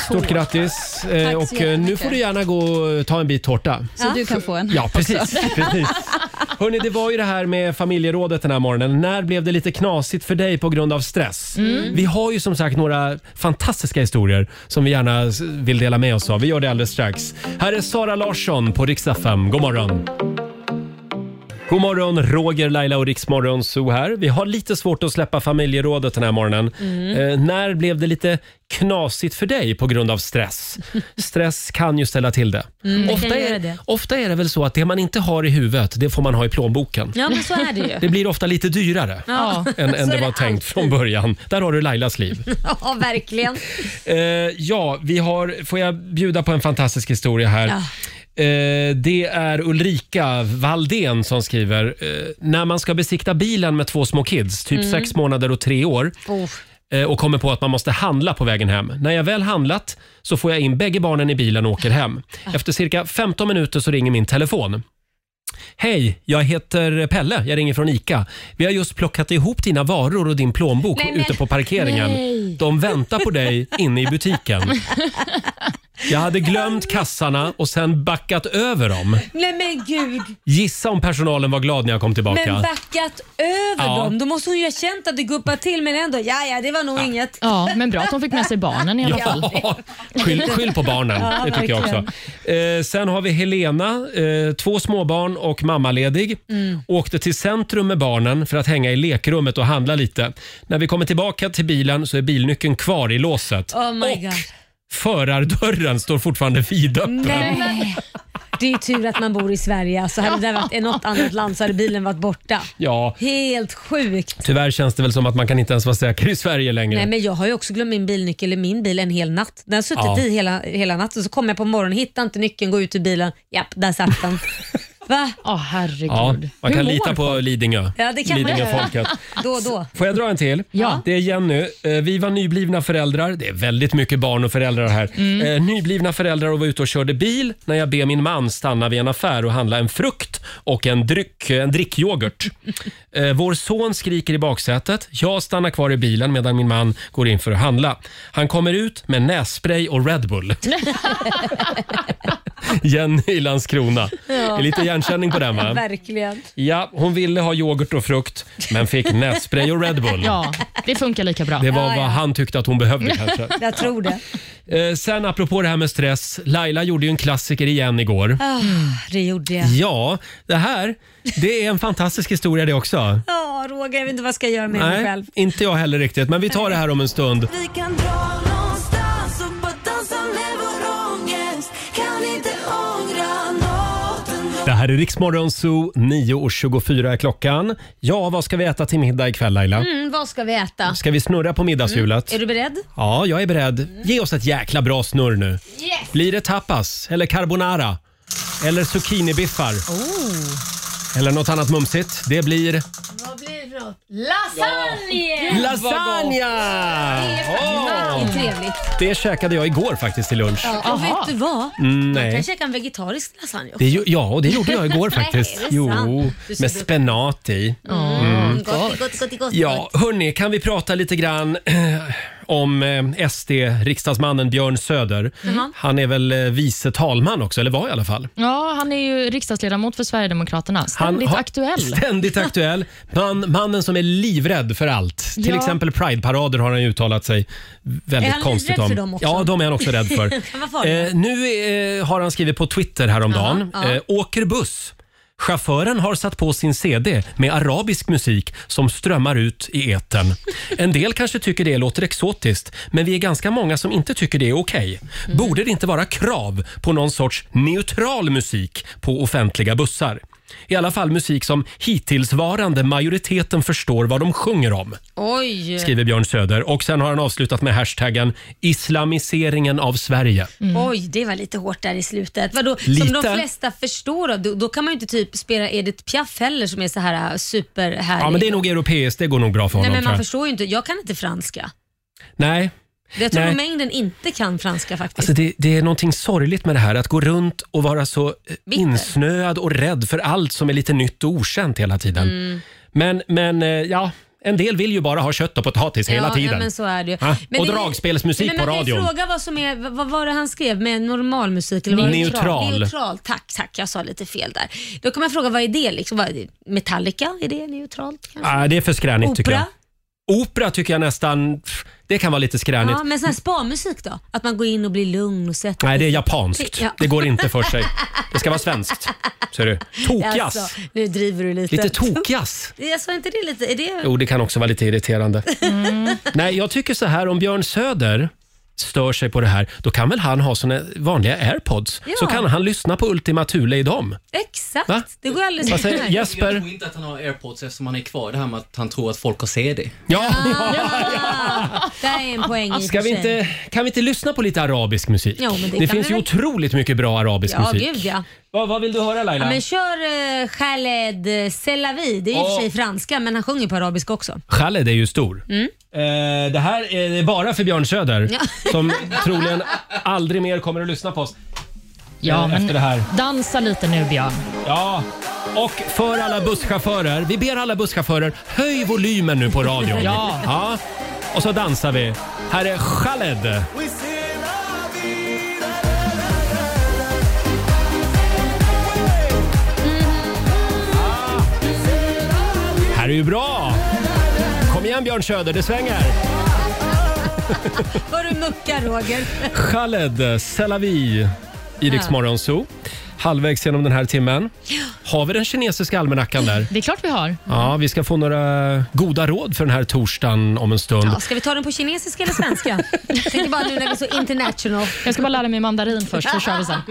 S1: Stort grattis. Eh,
S5: så
S1: Och eh, nu
S5: jättemycket.
S1: får du gärna gå och ta en bit tårta.
S5: Så du kan få en.
S1: Ja, precis. precis. Hörni, det var ju det här med familjerådet den här morgonen. När blev det lite knasigt för dig på grund av stress?
S5: Mm.
S1: Vi har ju som sagt några fantastiska historier som vi gärna s- vill dela med oss av. Vi gör det alldeles strax. Här är Sara Larsson på Rix FM. God morgon. God morgon, Roger, Laila och Riksmorgon Zoo här. Vi har lite svårt att släppa familjerådet den här morgonen.
S2: Mm.
S1: Eh, när blev det lite knasigt för dig på grund av stress? Stress kan ju ställa till det.
S2: Mm, det
S1: ofta,
S2: kan göra
S1: är,
S2: det.
S1: ofta är det väl så att det man inte har i huvudet, det får man ha i plånboken.
S2: Ja, men så är det ju.
S1: Det blir ofta lite dyrare
S2: Ja,
S1: än, än
S2: Så
S1: det
S2: är
S1: var tänkt från början. Där har du Lailas liv.
S2: Ja, verkligen.
S1: Eh, ja, vi har, får jag bjuda på en fantastisk historia här.
S2: Ja.
S1: Eh, det är Ulrika Valdén som skriver. Eh, när man ska besikta bilen med två små kids, typ sex månader och tre år
S2: Oh.
S1: eh, och kommer på att man måste handla på vägen hem. När jag väl handlat så får jag in bägge barnen i bilen och åker hem. Efter cirka 15 minuter så ringer min telefon. Hej, jag heter Pelle. Jag ringer från ICA. Vi har just plockat ihop dina varor och din plånbok
S2: Nej, men-
S1: ute på parkeringen.
S3: Nej.
S1: De väntar på dig inne i butiken. Jag hade glömt kassarna och sen backat över dem.
S2: Nej men gud,
S1: Gissa om personalen var glad när jag kom tillbaka.
S2: men backat över
S1: Ja.
S2: dem. Då måste hon ju ha känt att det guppade till men ändå, ja ja det var nog inget.
S3: Ja, men bra att de fick med sig barnen i alla fall.
S1: Ja, skyll, skyll på barnen.
S2: Ja,
S1: det tycker jag också.
S2: verkligen.
S1: Eh, sen har vi Helena, eh, två småbarn och mammaledig.
S2: Mm.
S1: Åkte till centrum med barnen för att hänga i lekrummet och handla lite. När vi kommer tillbaka till bilen så är bilnyckeln kvar i låset.
S2: Oh my
S1: och
S2: god.
S1: förardörren står fortfarande vidöppen.
S2: Nej. Det är tur att man bor i Sverige. Alltså, hade det där varit i något annat land så hade bilen varit borta.
S1: Ja,
S2: Helt sjukt.
S1: tyvärr känns det väl som att man kan inte ens vara säker i Sverige längre.
S2: Nej, men jag har ju också glömt min bilnyckel i min bil en hel natt. Den har suttit
S1: Ja.
S2: i hela, hela natten. Så kommer jag på morgonen, hittar inte nyckeln, går ut ur bilen. Japp, där satt den. Va?
S3: Ja, herregud.
S1: ja, man
S3: Hur
S1: kan
S3: mår
S1: lita på
S3: folk?
S1: Lidingö.
S2: Ja, det kan man göra.
S1: Lidingöfolket.
S2: Då och då.
S1: Får jag dra en till?
S3: Ja.
S1: Det är Jenny. Eh, Vi var nyblivna föräldrar. Det är väldigt mycket barn och föräldrar här.
S3: Mm.
S1: Eh, Nyblivna föräldrar och var ute och körde bil när jag ber min man stanna vid en affär och handla en frukt och en dryck, en drickyoghurt. Eh, Vår son skriker i baksätet. Jag stannar kvar i bilen medan min man går in för att handla. Han kommer ut med nässpray och Red Bull. Jenny i Landskrona. Det är lite igenkänning på den va?
S2: Verkligen.
S1: Ja, hon ville ha yoghurt och frukt men fick nässpray och Red Bull.
S3: Ja, det funkar lika bra.
S1: Det var
S2: Ja, ja.
S1: vad han tyckte att hon behövde kanske.
S2: Jag tror det.
S1: Eh, sen apropå det här med stress. Laila gjorde ju en klassiker igen igår.
S2: Ah, det gjorde jag.
S1: Ja, det här det är en fantastisk historia det också.
S2: Ja, Roger, jag vet inte vad jag ska göra med mig själv.
S1: inte jag heller riktigt. Men vi tar det här om en stund.
S6: Vi kan dra någonstans och bara dansa med vår ångest Kan inte ångra nåt ändå
S1: Det här är Riksmorgon Zoo, 9.24 är klockan. Ja, vad ska vi äta till middag ikväll Laila?
S2: Mm, vad ska vi äta?
S1: Ska vi snurra på middagshjulet?
S2: Är du beredd?
S1: Ja, jag är beredd. Ge oss ett jäkla bra snurr nu.
S2: Mm. Yes!
S1: Blir det tapas eller carbonara? Eller zucchinibiffar? Eller något annat mumsigt? Det blir...
S2: Oh. Vad blir det för något? Lasagne!
S1: Lasagna!
S2: Det är trevligt.
S1: Det käkade jag igår faktiskt till lunch.
S2: Ja, och vet du vad? Man kan
S1: Mm, Nej.
S2: käka en vegetarisk lasagne också.
S1: Det, ju- ja, och det gjorde jag igår
S2: Nej,
S1: faktiskt.
S2: är det
S1: Jo,
S2: sant? Du ser
S1: med
S2: gott.
S1: spenat i.
S2: Mm, gott, gott, gott, gott.
S1: Ja, hörni, kan vi prata lite grann om eh, SD-riksdagsmannen Björn Söder?
S2: Mm.
S1: Han är väl eh, vice talman också, eller var i alla fall.
S3: Ja, han är ju riksdagsledamot för Sverigedemokraterna.
S1: Han
S3: Ständigt
S1: har-
S3: aktuell.
S1: Ständigt aktuell. Man, mannen som är livrädd för allt. Till
S3: Ja.
S1: exempel Pride-parader har han ju uttalat sig väldigt
S2: Är han
S1: konstigt
S2: livrädd
S1: om.
S2: för dem också?
S1: Ja, de är han också rädd för.
S2: Vad farligt.
S1: eh, nu eh, har han skrivit på Twitter häromdagen.
S2: Ja, ja.
S1: Eh, åker buss. Chauffören har satt på sin CD med arabisk musik som strömmar ut i etern. En del kanske tycker det låter exotiskt, men vi är ganska många som inte tycker det är okej.
S2: Mm.
S1: Borde det inte vara krav på någon sorts neutral musik på offentliga bussar? I alla fall musik som hittillsvarande majoriteten förstår vad de sjunger om,
S2: Oj!
S1: skriver Björn Söder. Och sen har han avslutat med hashtaggen islamiseringen av Sverige.
S2: Oj, det var lite hårt där i slutet. Vadå,
S1: Mm. Lite.
S2: Som de flesta förstår av, då, då kan man ju inte typ spela Edith Piaf heller som är så här äh, superhärlig.
S1: Ja, men det är nog europeiskt. Det går nog bra för
S2: Nej,
S1: honom.
S2: men alltså-
S1: tror
S2: man
S1: jag.
S2: förstår ju inte. Jag kan inte franska.
S1: Nej.
S2: Jag tror
S1: Nej.
S2: nog mängden inte kan franska faktiskt.
S1: Alltså det, det är någonting sorgligt med det här, att gå runt och vara så eh,
S2: Bitter.
S1: insnöad och rädd för allt som är lite nytt och okänt hela tiden.
S2: Mm.
S1: Men, men eh, ja, en del vill ju bara ha kött och potatis hela
S2: ja, Ja,
S1: tiden.
S2: men så är det ju.
S1: Ja,
S2: Men
S1: och
S2: det är-
S1: dragspelsmusik
S2: men
S1: på
S2: man kan ju
S1: radion.
S2: fråga vad som är, vad vad var det han skrev med normal musik? Eller vad-
S1: Neutral.
S2: Neutral, tack, tack. Jag sa lite fel där. Då kan man fråga vad är det liksom? Vad, Metallica, är det neutralt kanske?
S1: Ah, det är för skränigt tycker jag.
S2: Opera?
S1: Opera tycker jag nästan, pff, det kan vara lite skränigt.
S2: Ja, men sån här spamusik då? Att man går in och blir lugn och sätter
S1: Nej, det är
S2: sig.
S1: japanskt.
S2: Ja.
S1: Det går inte för sig. Det ska vara svenskt. Ser du? Tokjazz.
S2: Alltså, nu driver du lite.
S1: Lite tokjazz.
S2: Jag sa inte det lite. Är det...
S1: Jo, det kan också vara lite irriterande.
S2: Mm.
S1: Nej, jag tycker så här om Björn Söder stör sig på det här, då kan väl han ha sina vanliga airpods?
S2: Ja.
S1: Så kan han lyssna på Ultima Thule i dem.
S2: Exakt.
S1: Va?
S2: Det går alldeles
S1: Vad säger
S2: utmärkt.
S7: Jag
S1: Jesper?
S7: tror inte att han har airpods eftersom han är kvar det här med att han tror att folk har CD.
S1: Ja,
S2: Ah, där är en poäng i och
S1: Ska
S2: för
S1: vi
S2: sig.
S1: inte, kan vi inte lyssna på lite arabisk musik?
S2: Jo, men det
S1: det
S2: kan
S1: finns
S2: vi
S1: ju
S2: väl.
S1: otroligt mycket bra arabisk
S2: Ja,
S1: musik.
S2: gud ja.
S1: Vad, vad vill du höra Laila?
S2: Ja, men kör eh, Khaled Selavi. Det är i och för sig franska, men han sjunger på arabiska också.
S1: Khaled är ju stor.
S3: Mm.
S1: Eh, det här är bara för Björn Söder
S2: Ja.
S1: som troligen aldrig mer kommer att lyssna på oss.
S3: Ja,
S1: eh,
S3: men
S1: Efter det här.
S3: dansa lite nu Björn.
S1: Ja. Och för alla busschaufförer, vi ber alla busschaufförer, höj volymen nu på radion.
S3: Ja.
S1: ja. Och så dansar vi. Här är Khaled.
S3: Mm-hmm.
S1: Ah. Här är ju bra! Kom igen Björn Söder, det svänger!
S2: Vad du muckar Roger.
S1: Khaled, Selavi i Rix
S2: Ja.
S1: Morgon Zoo. Halvvägs genom den här timmen. Har vi den kinesiska almanackan där?
S3: Det är klart vi har.
S1: Ja, vi ska få några goda råd för den här torsdagen om en stund.
S2: Ja, ska vi ta den på kinesiska eller svenska? Jag tänker bara nu när vi är så international.
S3: Jag ska bara lära mig mandarin först, så kör vi sen.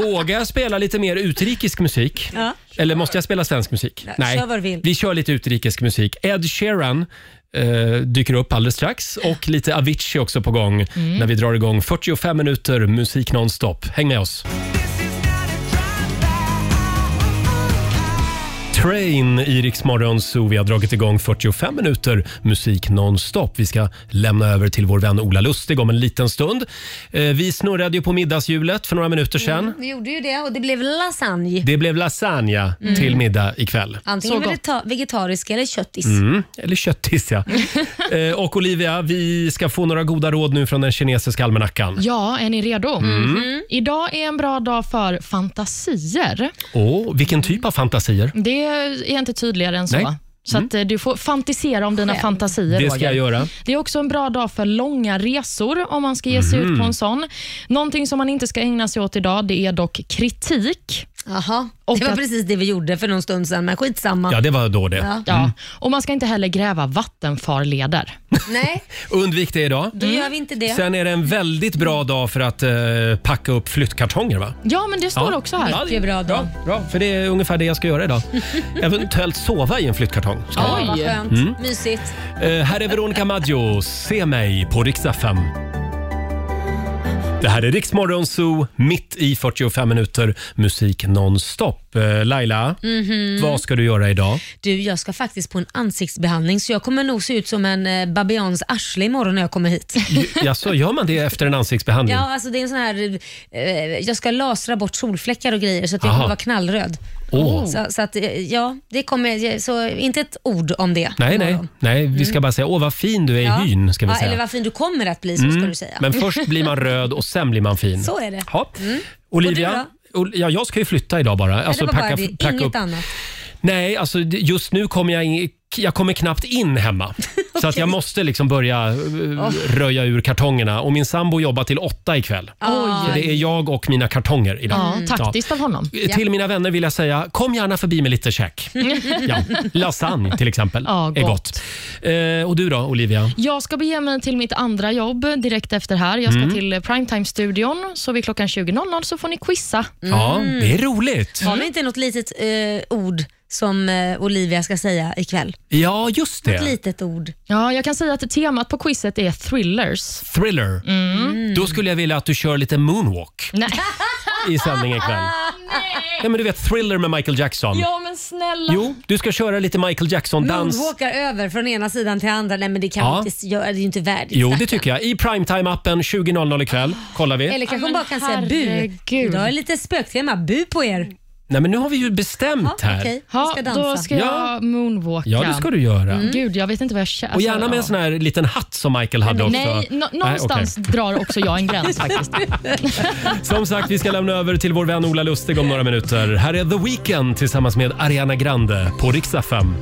S1: Vågar jag spela lite mer utrikisk musik?
S2: Ja.
S1: Eller måste jag spela svensk musik?
S2: Ja, kör vad du vill.
S1: vi kör lite utrikisk musik. Ed Sheeran eh, dyker upp alldeles strax och lite Avicii också på gång
S2: Mm.
S1: när vi drar igång 45 minuter musik nonstop. Häng med oss. Train i Rix Morgon Zoo. Vi har dragit igång 45 minuter musik nonstop. Vi ska lämna över till vår vän Ola Lustig om en liten stund. Eh, Vi snurrade ju på middagshjulet för några minuter sedan.
S2: Vi gjorde ju det och det blev lasagne.
S1: Det blev lasagne till middag ikväll.
S2: Antingen
S3: Så gott.
S2: vegeta- vegetarisk eller köttis.
S1: Mm, eller köttis ja. eh, och Olivia, vi ska få några goda råd nu från den kinesiska almanackan.
S3: Ja, är ni redo?
S1: Mm.
S3: Mhm. Idag är en bra dag för fantasier.
S1: Åh, vilken typ av fantasier?
S3: Det är inte tydligare än så.
S1: Nej. Mm.
S3: Så att eh, du får fantisera om dina fantasier,
S1: Det ska
S3: Roger.
S1: jag göra.
S3: Det är också en bra dag för långa resor om man ska ge sig
S1: Mm.
S3: ut på en sån. Någonting som man inte ska ägna sig åt idag, det är dock kritik.
S2: Jaha,
S3: Och
S2: det var
S3: att-
S2: precis det vi gjorde för någon stund sedan, men skitsamma.
S1: Ja, det var då det.
S2: Ja.
S3: Ja. Och man ska inte heller gräva vattenfarleder.
S2: Nej,
S1: Undvik det idag.
S2: då gör vi inte det.
S1: Sen är det en väldigt bra dag för att eh, packa upp flyttkartonger va?
S3: Ja, men det står också här.
S1: det
S2: Mycket bra dag.
S1: Bra, bra, för det är ungefär det jag ska göra idag. Eventuellt sova i en flyttkartong. ska jag
S2: Ja, vad
S3: Oj.
S2: skönt.
S1: Mm.
S2: Mysigt.
S1: Eh, här är Veronica Maggio. Se mig på riksdag 5. Det här är Riksmorgon Zoo, mitt i 45 minuter musik nonstop. Eh, Laila,
S2: Mhm.
S1: vad ska du göra idag?
S2: Du, jag ska faktiskt på en ansiktsbehandling så jag kommer nog se ut som en eh, babians arsle imorgon när jag kommer hit.
S1: Jaså, gör man det efter en ansiktsbehandling?
S2: Ja, alltså det är en sån här, eh, jag ska lasra bort solfläckar och grejer så att jag
S1: Aha.
S2: kommer vara knallröd.
S1: Åh.
S2: Så, så att, eh, ja, det kommer, eh, så inte ett ord om det.
S1: Nej, nej,
S2: imorgon. Mm.
S1: nej, vi ska bara säga åh vad fin du är i
S2: Ja.
S1: hyn. Ska vi
S2: ja,
S1: säga. Mm.
S2: Eller vad fin du kommer att bli, så ska du säga.
S1: Men först blir man röd och sen blir man fin.
S2: Så är det.
S1: Ja. Olivia, Ol- ja, jag ska ju flytta idag bara. Alltså,
S2: det var bara
S1: packa,
S2: det,
S1: packa
S2: inget
S1: upp.
S2: annat.
S1: Nej, alltså det- just nu kommer jag, in, jag kommer knappt in hemma. Så att jag måste liksom börja eh, röja ur kartongerna. Och min sambo jobbar till åtta ikväll.
S2: Ah.
S1: Så det är jag och mina kartonger idag.
S3: Ja, taktiskt av honom.
S1: Ja. Eh, Till mina vänner vill jag säga, kom gärna förbi med lite käk. ja. Lasagne till exempel
S3: Ja,
S1: är gott.
S3: gott.
S1: Eh, och du då Olivia?
S3: Jag ska bege mig till mitt andra jobb direkt efter här. Jag ska
S1: Mm.
S3: till Primetime-studion, så vid klockan 20.00 så får ni quizza.
S2: Mm.
S1: Ja, det är roligt.
S2: Har vi inte något litet eh, ord som eh, Olivia ska säga ikväll?
S1: Ja, just
S2: Ett
S1: det.
S2: litet ord.
S3: Ja, jag kan säga att temat på quizet är thrillers.
S1: Thriller. Då skulle jag vilja att du kör lite moonwalk
S3: Nej.
S1: i sändningen ikväll. Ja, men du vet Thriller med Michael Jackson.
S3: Ja, men snälla.
S1: Jo, du ska köra lite Michael Jackson-dans.
S2: Moonwalkar över från ena sidan till andra. Nej men det kan
S1: Ja.
S2: ja. inte göra, det är ju inte värdigt.
S1: Jo, det
S2: stackarn.
S1: tycker jag. I primetime-appen 20.00 ikväll kollar vi.
S2: Eller kanske hon
S3: men
S2: bara kan säga bu.
S3: herregud.
S2: Idag är det lite spöktema. Bu på er.
S1: Nej, men nu har vi ju bestämt
S2: Ja,
S1: här.
S2: Okej, vi
S3: Ja,
S2: ska dansa.
S3: då ska
S1: Ja.
S3: jag moonwalka.
S1: Ja, det ska du göra.
S3: Gud, jag vet inte vad jag känner.
S1: Och gärna med en sån här liten hatt som Michael hade också.
S3: Alltså- Nej, nå-
S1: okej.
S3: någonstans drar också jag en gräns faktiskt.
S1: Som sagt, vi ska lämna över till vår vän Ola Lustig om några minuter. Här är The Weeknd tillsammans med Ariana Grande på Rix FM.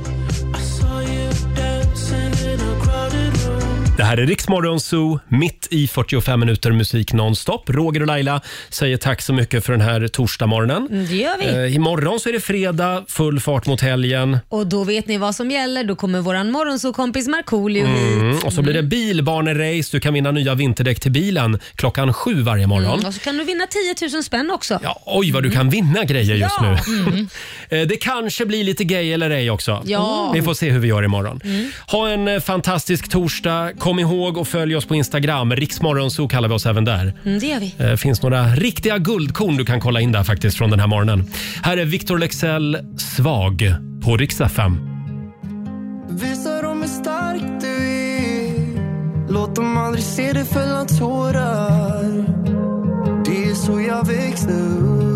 S1: Det här är Riksmorgon Zoo, mitt i 45 minuter musik nonstop. Roger och Laila säger tack så mycket för den här torsdagsmorgonen.
S2: Mm, det gör vi.
S1: Eh, imorgon så är det fredag, full fart mot helgen.
S2: Och då vet ni vad som gäller. Då kommer våran morgonsåkompis Markoolio hit.
S1: Mm. Och så blir det bilbanerace. Du kan vinna nya vinterdäck till bilen klockan sju varje morgon.
S2: Mm, och så kan du vinna 10 000 spänn också.
S1: Ja, Oj, vad du kan vinna grejer just
S2: Ja. Mm.
S1: nu. Eh, Det kanske blir lite gay eller ej också.
S2: Ja. Mm.
S1: Vi får se hur vi gör imorgon. Ha en eh, fantastisk torsdag. Kom ihåg och följ oss på Instagram. Riksmorgonzoo kallar vi oss även där.
S2: Mm, det gör vi.
S1: Det finns några riktiga guldkorn du kan kolla in där faktiskt från den här morgonen. Här är Victor Lexell, Svag, på riksdag 5.
S10: Visa dem hur stark du är Låt dem aldrig se dig fälla tårar Det är så jag växte upp